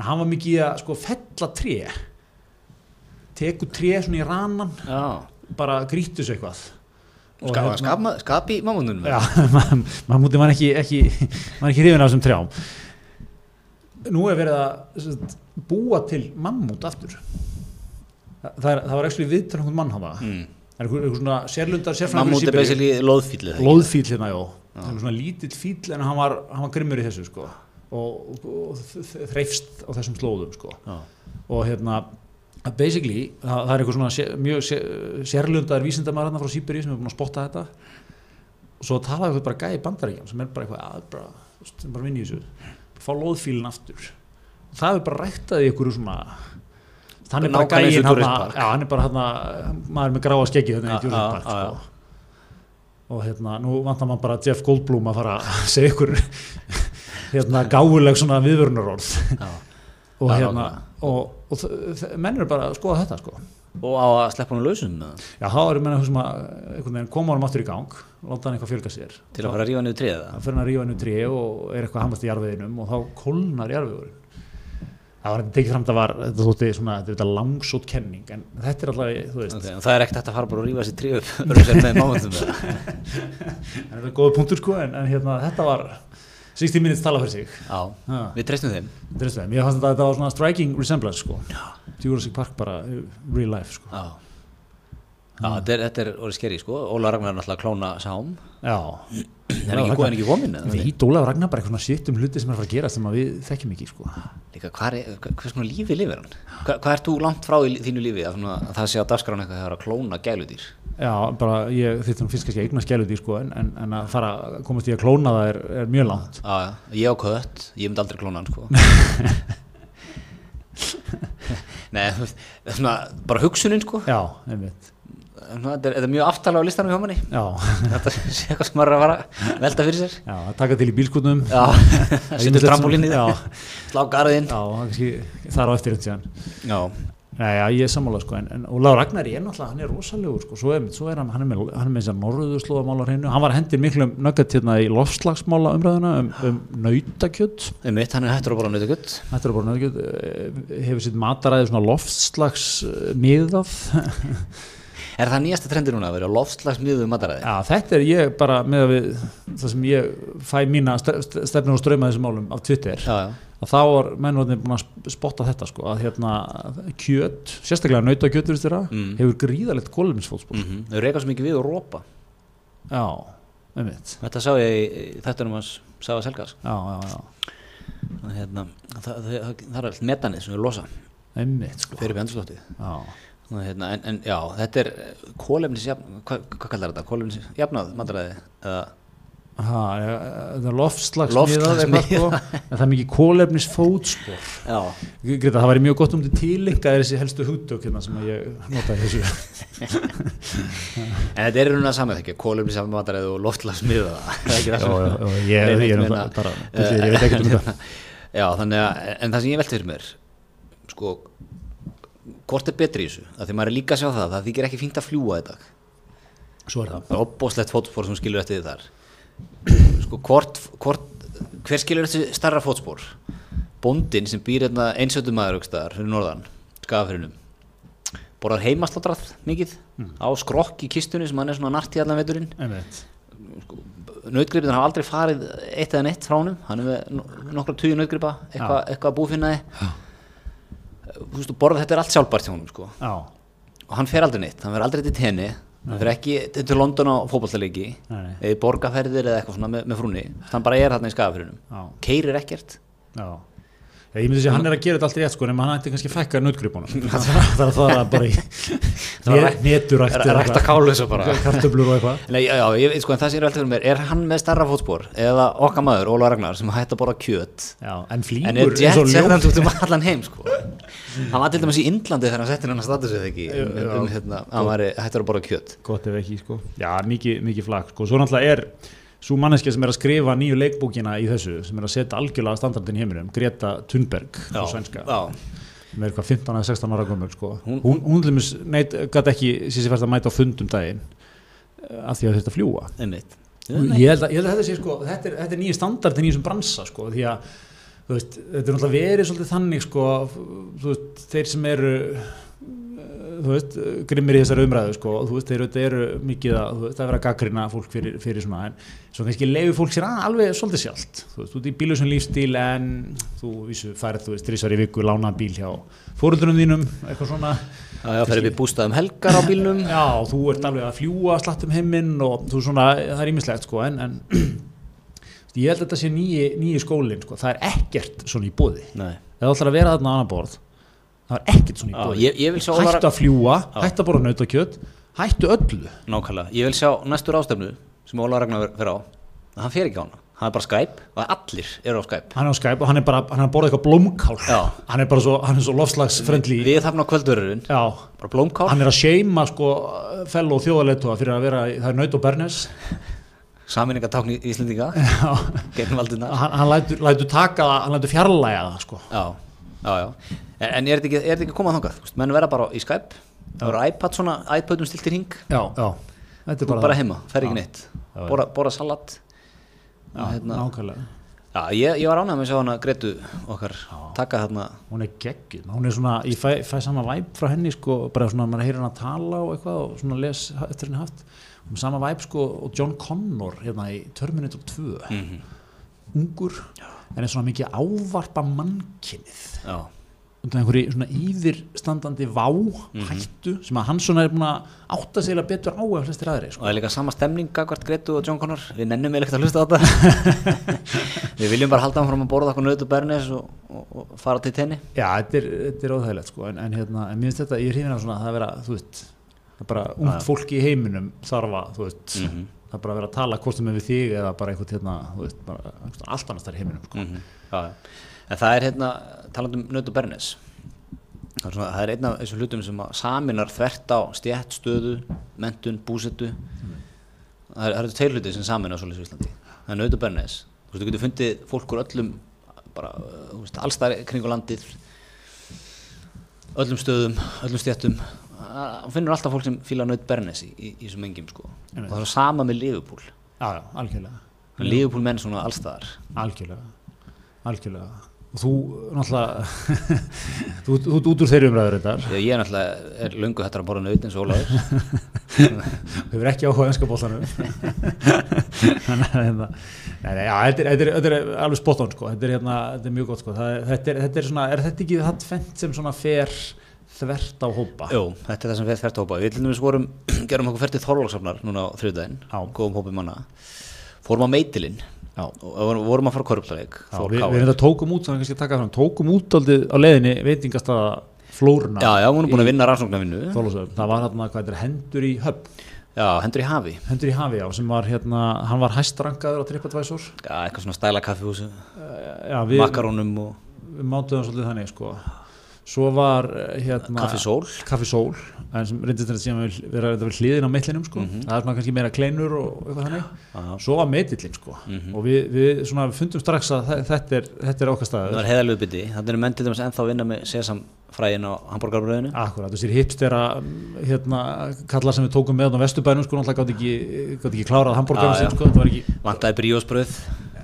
[SPEAKER 2] en hann var mikið í að sko fella tré teku tré svona í ranan
[SPEAKER 1] Já,
[SPEAKER 2] bara grítu sig eitthvað Og
[SPEAKER 1] Ska,
[SPEAKER 2] hérna-
[SPEAKER 1] skap, skap í mammunum
[SPEAKER 2] Já, maður ma mútið maður ekki, ekki maður er ekki hrifin af þessum trjám Nú er verið að sem sagt, búa til mammút aftur Þa, það, er, það var ekki viðtölu einhvern mann hafa
[SPEAKER 1] mm.
[SPEAKER 2] Það er einhver, einhver svona sérlundar sérfræðingur
[SPEAKER 1] Mammút er
[SPEAKER 2] í Sýberíu.
[SPEAKER 1] basically loðfýllið
[SPEAKER 2] Lóðfíll hérna, já Það er svona lítill fíll en hann var, hann var grimmur í þessu sko og, og, og þreifst á þessum slóðum sko
[SPEAKER 1] Já,
[SPEAKER 2] og hérna að basically, það, það er eitthvað svona sér, mjög sér, sérlundar vísindamæður hérna frá Sýberi sem er búin að spotta þetta og svo talaði eitthvað bara gæði bandarækjan sem er bara eitthvað að bara, þú veist, sem bara vinni í þessu bara fá loðfílin aftur það er bara ræktað í einhverju svona hann er bara
[SPEAKER 1] Nákvæmlega eins og
[SPEAKER 2] gæðin
[SPEAKER 1] Jurassic Park.
[SPEAKER 2] já, hann er bara hann maður með gráa skeggi
[SPEAKER 1] Já,
[SPEAKER 2] hérna í Jurassic
[SPEAKER 1] já,
[SPEAKER 2] Park
[SPEAKER 1] já.
[SPEAKER 2] sko. og hérna, nú vantar maður bara Jeff Goldblum að fara að segja ykkur hérna gáfuleg svona viðvörunarorð
[SPEAKER 1] já.
[SPEAKER 2] og,
[SPEAKER 1] Já,
[SPEAKER 2] hérna,
[SPEAKER 1] nákvæmlega.
[SPEAKER 2] og, og þ- þ- menn eru bara að skoða þetta sko.
[SPEAKER 1] Og á að sleppa hann lausum með það
[SPEAKER 2] já, þá eru menn að hugsa um að, einhvern veginn koma honum aftur í gang láta hann eitthvað fjölga sér
[SPEAKER 1] Til að fara að rífa niður tréð það
[SPEAKER 2] það fyrir hann að rífa hennu tré og er eitthvað hamast í jarfiðinum og þá kólnar jarfiðurinn það var þetta tekið fram það var þetta þótti svona, þetta er þetta langsótt kenning en þetta er alltaf, þú veist
[SPEAKER 1] okay. og Það er ekkert hægt að fara bara að rífa sér tréð upp Örfisar með mammutum með það
[SPEAKER 2] en þetta er góð punktur sko, en, en hérna, þetta var 60 minutes tala fyrir sig
[SPEAKER 1] Já,
[SPEAKER 2] ha,
[SPEAKER 1] við treystum þeim
[SPEAKER 2] þetta er slæm. ég fannst þetta, þetta var svona striking resemblance sko. Jurassic Park bara uh, real life sko.
[SPEAKER 1] Já, Mm. já þetta, er, þetta er orðið skeri sko Óla Ragnar er náttúrulega að klóna sám
[SPEAKER 2] já,
[SPEAKER 1] Það er
[SPEAKER 2] Já,
[SPEAKER 1] ekki
[SPEAKER 2] Ragnar-
[SPEAKER 1] góð en ekki komin eða?
[SPEAKER 2] Við ídólaður Ragnar bara eitthvað svona shit um hluti sem er að fara að gera sem að við þekkjum ekki sko.
[SPEAKER 1] Líka, hvað er, hva- hvers konar lífi lifir hann? Hva, hvað ert þú langt frá í þínu lífi að, svona, að það sé að dagskrána eitthvað að það er að klóna gæludýr?
[SPEAKER 2] Já, bara ég þýttum finnst kannski að eigna skjæludi sko, en, en, en að fara að komast í að klóna það er, er mjög langt.
[SPEAKER 1] Já, já, ég á kött, ég myndi aldrei klóna hann sko Nei, þú veist, svona, bara hugsunin sko
[SPEAKER 2] Já, einmitt.
[SPEAKER 1] svona, þetta, er, þetta er mjög aftalega á listanum hjá manni
[SPEAKER 2] Já,
[SPEAKER 1] Þetta sé eitthvað sem maður er að fara að velta fyrir sér
[SPEAKER 2] já að taka til í bílskutnum.
[SPEAKER 1] Já, setja
[SPEAKER 2] ýmislegt
[SPEAKER 1] trampolínið
[SPEAKER 2] svona-
[SPEAKER 1] Slá garðinn
[SPEAKER 2] Já, það er kannski þar á eftir eitt síðan.
[SPEAKER 1] Já,
[SPEAKER 2] Nei, já, ég er sammála sko, en, en Ólaður Ragnar ég er náttúrulega, hann er rosalegur sko, svo er, svo er hann, hann er með, hann er með þess að norðuðu slóðamála hreinu, hann var hendir miklum nöggat hérna í lofslagsmála umræðuna um, um nautakjött
[SPEAKER 1] um mitt, hann er hættur að bóla nöytu gutt
[SPEAKER 2] Þetta er bara nöðgjöld, hefur sitt mataræði svona loftslags eh, miðað.
[SPEAKER 1] Er það nýjasta trendir núna að vera loftslagsmiðum mataræði?
[SPEAKER 2] Já, þetta er ég bara með að við, það sem ég fæ mína stefnir og ströma þessum málum af Twitter,
[SPEAKER 1] Já, já,
[SPEAKER 2] að þá er mennvöldin búin að sp- spotta þetta sko, að hérna kjöt, sérstaklega nautakjöt virðist þeirra,
[SPEAKER 1] Mm.
[SPEAKER 2] hefur gríðalegt kóluminsfótspor.
[SPEAKER 1] mm -hmm. þau reyka svo mikið við og rópa
[SPEAKER 2] Já, einmitt.
[SPEAKER 1] Þetta sá ég í- í þættunum hans Sava Selgas
[SPEAKER 2] Já, já, já,
[SPEAKER 1] sko. að hérna, það, það, það, það er allt metanið sem við losa
[SPEAKER 2] einmitt sko.
[SPEAKER 1] fyrir upp í andrslóttið
[SPEAKER 2] Já,
[SPEAKER 1] Nú, hérna, en, en já, eh, þetta er kólefnisjafnað, hvað, hvað kallar þetta, kólefnisjafnað mataræði eða
[SPEAKER 2] ha, það er loftslagsmiðað
[SPEAKER 1] Loftslagsmiðað.
[SPEAKER 2] eitthvað, sko, en það er mikið sko. kólefnis fótspor
[SPEAKER 1] Já,
[SPEAKER 2] Greta, það væri mjög gott um til tilinka þessi helstu hugtök hérna sem að ég nota í þessu
[SPEAKER 1] en þetta er raunin að samverðekja, kólumni samanvataræð og loftlagsmiða, það er ekki það sem
[SPEAKER 2] Já, já, já, ég, ég, ég, er
[SPEAKER 1] Reyna-
[SPEAKER 2] náttúrulega bara, ég, ég veit ekki
[SPEAKER 1] eh,
[SPEAKER 2] um þetta
[SPEAKER 1] Já, þannig að, en það sem ég velti fyrir mér, sko, hvort er betri í þessu? Af því maður er líka að sjá það, það þykir ekki fínt að fljúa í dag.
[SPEAKER 2] Svo er það
[SPEAKER 1] Það er opbóslegt fótspór sem skilur eftir því þar. Sko, hvort, hvort, hver skilur eftir starra fótspór? Bóndin sem býr hérna einsöndum maður aukstaðar fyrir norðan, skafafyrinum, borðar heimasláttrað mikið,
[SPEAKER 2] Hmm.
[SPEAKER 1] á skrokk í kistunni sem hann er svona nart í allan veturinn.
[SPEAKER 2] Einmitt.
[SPEAKER 1] Nautgripin hafa aldrei farið eitt eða neitt frá honum, hann er með no- nokkra tugi nautgripa, eitthvað eitthva að búfinnaði. Þú veist, og borða þetta er allt sjálfbært hjá honum, sko.
[SPEAKER 2] Já,
[SPEAKER 1] Og hann fer aldrei neitt, hann fer aldrei til tenni, hann fer ekki til London á fótballtaleiki,
[SPEAKER 2] Nei, nei.
[SPEAKER 1] eða í borgarferðir eða eitthvað svona með, með frúni. Hann bara er þarna í skafafyrinum,
[SPEAKER 2] já,
[SPEAKER 1] keirir ekkert.
[SPEAKER 2] já Já, Ég myndi að hann er að gera þetta alltaf rétt sko nema hann ætti kannski að fækka nautgripunum Það er að fara bara í neturækt
[SPEAKER 1] Rækta kálu þessu bara.
[SPEAKER 2] Kartöblur og eitthvað
[SPEAKER 1] Nei, já, já, ég, veit, sko, en það sem ég er veltið fyrir mér, er hann með starra fótspor eða okkar maður, Óla Ragnar, sem hætti að borða kjöt
[SPEAKER 2] Já, En
[SPEAKER 1] En er
[SPEAKER 2] flýgur
[SPEAKER 1] Jet
[SPEAKER 2] eins og ljón.
[SPEAKER 1] sérðan út um allan heim sko Hann var til dæmis í Indlandi þegar hann setti hann að status eða ekki um,
[SPEAKER 2] Já.
[SPEAKER 1] um hérna, hann var hættur að borða kjöt
[SPEAKER 2] gott ef ekki sko. já, mikið, mikið flakk sko. svo náttúrulega er svo manneskja sem er að skrifa nýju leikbókina í þessu sem er að setja algjörlega standardin í heiminum Greta Thunberg, svo svenska
[SPEAKER 1] já,
[SPEAKER 2] sem er eitthvað 15 eða 16 ára gömul sko.
[SPEAKER 1] Hún-
[SPEAKER 2] hún, hún, hún lumis, neitt, gæti ekki sísi fært að mæta á fundum daginn eh, af því að þetta fljúa
[SPEAKER 1] einmitt
[SPEAKER 2] ég held, að, ég held að þetta sé sko þetta er, þetta er nýju standardin í þessum bransa sko því að þú veist, þetta er náttúrulega verið svolítið þannig sko f- þú veist, þeir sem eru eh, þú veist, grimmir í þessari umræðu sko, þú veist, þeir auðvitað eru mikið að, þú veist, að vera að gaggrina fólk fyrir, fyrir svona en svo kannski leiður fólk sér að alveg svolítið sjálft, þú veist, þú ert í bílu sem lífstíl en þú vísu færð, þú veist, þrísar í viku lána bíl hjá fóruldrunum þínum eitthvað svona
[SPEAKER 1] Já, já, ferði við bústaðum um helgar á bílnum
[SPEAKER 2] Já, þú ert alveg að fljúa slatt um heiminn og þú svona, það er ímislegt sko en, en ég held að þetta sé nýji, nýji skólinn sko, það er ekkert svona í bóði
[SPEAKER 1] Nei
[SPEAKER 2] ef þú ætlar að vera þarna á annan borð það er ekkert svona í
[SPEAKER 1] Já,
[SPEAKER 2] bóði
[SPEAKER 1] ég, ég vil sjá Óla
[SPEAKER 2] hættu
[SPEAKER 1] Ragnar
[SPEAKER 2] að fljúa,
[SPEAKER 1] Já.
[SPEAKER 2] hættu að borða nautakjöt hættu öllu
[SPEAKER 1] Nákvæmlega, ég vil sjá næstu rástefnu sem Óla Ragnar fer á að Hann fer ekki á hana, hann er bara Skype og allir eru á Skype
[SPEAKER 2] hann er á Skype og hann er bara hann er að borða eitthvað blómkál
[SPEAKER 1] Já.
[SPEAKER 2] hann er bara svo, hann er svo lofslagsfrendli
[SPEAKER 1] Við þarfum á kvöldururinn,
[SPEAKER 2] já,
[SPEAKER 1] bara blómkál
[SPEAKER 2] hann er að seima sko fellow þjóðaleitua fyrir að vera það er naut og bernes
[SPEAKER 1] Saminningatákn í Íslendinga
[SPEAKER 2] Já.
[SPEAKER 1] Gegnum aldurnar
[SPEAKER 2] hann, hann lætur, lætur taka það, hann lætur fjarlæga það sko
[SPEAKER 1] Já, já, já. En, en er þetta ekki, er þetta ekki komað þangað? Þú veist, Menn vera bara á- í Skype, það voru iPad svona, iPadum stiltir hing,
[SPEAKER 2] já, já. Þetta er
[SPEAKER 1] bara,
[SPEAKER 2] bara,
[SPEAKER 1] bara heima, fer
[SPEAKER 2] Já.
[SPEAKER 1] ekki neitt,
[SPEAKER 2] Já, já.
[SPEAKER 1] bora, bora salat.
[SPEAKER 2] já,
[SPEAKER 1] hérna.
[SPEAKER 2] nákvæmlega
[SPEAKER 1] Já, ég, ég var ánægð með að sjá hana Gretu okkar taka þarna,
[SPEAKER 2] hún er geggjuð, hún er svona ég fæ, fæ sama væp frá henni sko bara svona maður heyrir hann að tala og eitthvað og svona les ha- eftir henni haft hún er sama væp sko og John Connor hérna í Terminator 2 ungur, en er svona mikið að ávarpa mannkinnið
[SPEAKER 1] já,
[SPEAKER 2] undan einhverju svona yfirstandandi vá hættu sem að hann svona er búin að átta sig eiginlega betur á eða flestir aðri sko.
[SPEAKER 1] og það er líka sama stemning gagvart Gretu og John Connor, við nennum eða ekkert að hlusta á þetta. við viljum bara halda hann fram að borða okkur nöðut og bernis og, og, og fara til tenni.
[SPEAKER 2] Já, þetta er, þetta er óþægilegt sko, en, en, hérna, en mér finnst þetta, ég er hrifin af svona að það vera, þú veist, það er bara ungt fólk í heiminum þarf að, þú veist, það er bara að vera að tala hvort sem er við þig eða bara einhvern hérna, þú veist, bara einhvern allt annars þar í heiminum sko.
[SPEAKER 1] mm já, já. en það er hérna talandi um nödd og bernes það er, svona, það er einn af þessum hlutum sem að saminar þvert á stjætt, stöðu, mentun, búsetu það er- það eru tveir hluti sem saminar svolítið í Íslandi það er nödd og bernes, þú veist, þú getur fundið fólk úr öllum bara, uh, þú veist, allstar kringu landið öllum stöðum, öllum stjættum það finnur alltaf fólk sem fíla nödd bernes í, í, í þessum engjum sko og
[SPEAKER 2] Einmitt.
[SPEAKER 1] það er sama með Liverpool
[SPEAKER 2] Já, já, algjörlega,
[SPEAKER 1] Liverpool menn svona allstaðar
[SPEAKER 2] algjörlega, algjörlega. Og þú, náttúrulega, þú þú ert út úr þeirri umræður þetta,
[SPEAKER 1] Ég, ég er náttúrulega er löngu hættur að borða naut eins og Ólaður.
[SPEAKER 2] hefur ekki áhuga enska bóttanum. Þannig að, hérna, nei, nei, já, þetta er, þetta er, þetta er alveg spot on, sko, þetta er, hérna, þetta er mjög gott, sko, það, er- þetta, er, þetta er svona, er þetta ekki það fendt sem svona fer þvert á hópa?
[SPEAKER 1] Jú, þetta er það sem við fært hópa. Við til dæmis vorum, gerum okkur fært í Þorvaldsafnar núna á þriðdæðin,
[SPEAKER 2] Já.
[SPEAKER 1] góðum hópi manna. Fórum á meitilinn
[SPEAKER 2] Já.
[SPEAKER 1] og vorum, vorum að fara korruptaleg.
[SPEAKER 2] Já, við, við erum þetta tókum út, þannig kannski að taka fram, tókum út aldrei á leiðinni veitingast að flórna.
[SPEAKER 1] Já, já, hún er búin að vinna rannsóknarvinnu.
[SPEAKER 2] Þorlósöfn, það var hérna, hvað þetta er, hendur í höfn.
[SPEAKER 1] Já, hendur í hafi.
[SPEAKER 2] hendur í hafi á sem var hérna, hann var hæstrankaður á TripAdvisor
[SPEAKER 1] Já, eitthvað svona stæla kaffihúsu, Eh,
[SPEAKER 2] já, við,
[SPEAKER 1] makarónum og
[SPEAKER 2] við mátuðum svolítið þannig sko svo var eh, hérna
[SPEAKER 1] kaffisól.
[SPEAKER 2] kaffisól en sem reyndist þetta síðan að vera þetta við hliðin á meitlinum sko það er svona kannski meira kleinur og eitthvað þannig
[SPEAKER 1] Mhm. Já. Mhm.
[SPEAKER 2] svo var meitillin sko og við, við svona fundum strax að þe- þetta er, þetta er okkar
[SPEAKER 1] Það
[SPEAKER 2] staður
[SPEAKER 1] var heiðalegu bytti. Þannig er menn til dæmis ennþá að vinna með sesamfræðin á hambúrgarbröðinu.
[SPEAKER 2] Akkurat, þessir hipstera mm, hérna, kallar sem við tókum með á Vesturbænum sko, náttúrulega gátt ekki, gátt ekki klárað hambúrgarinn
[SPEAKER 1] Já,
[SPEAKER 2] sinn
[SPEAKER 1] já.
[SPEAKER 2] sko, þetta var ekki
[SPEAKER 1] Vantaði bríósbröð,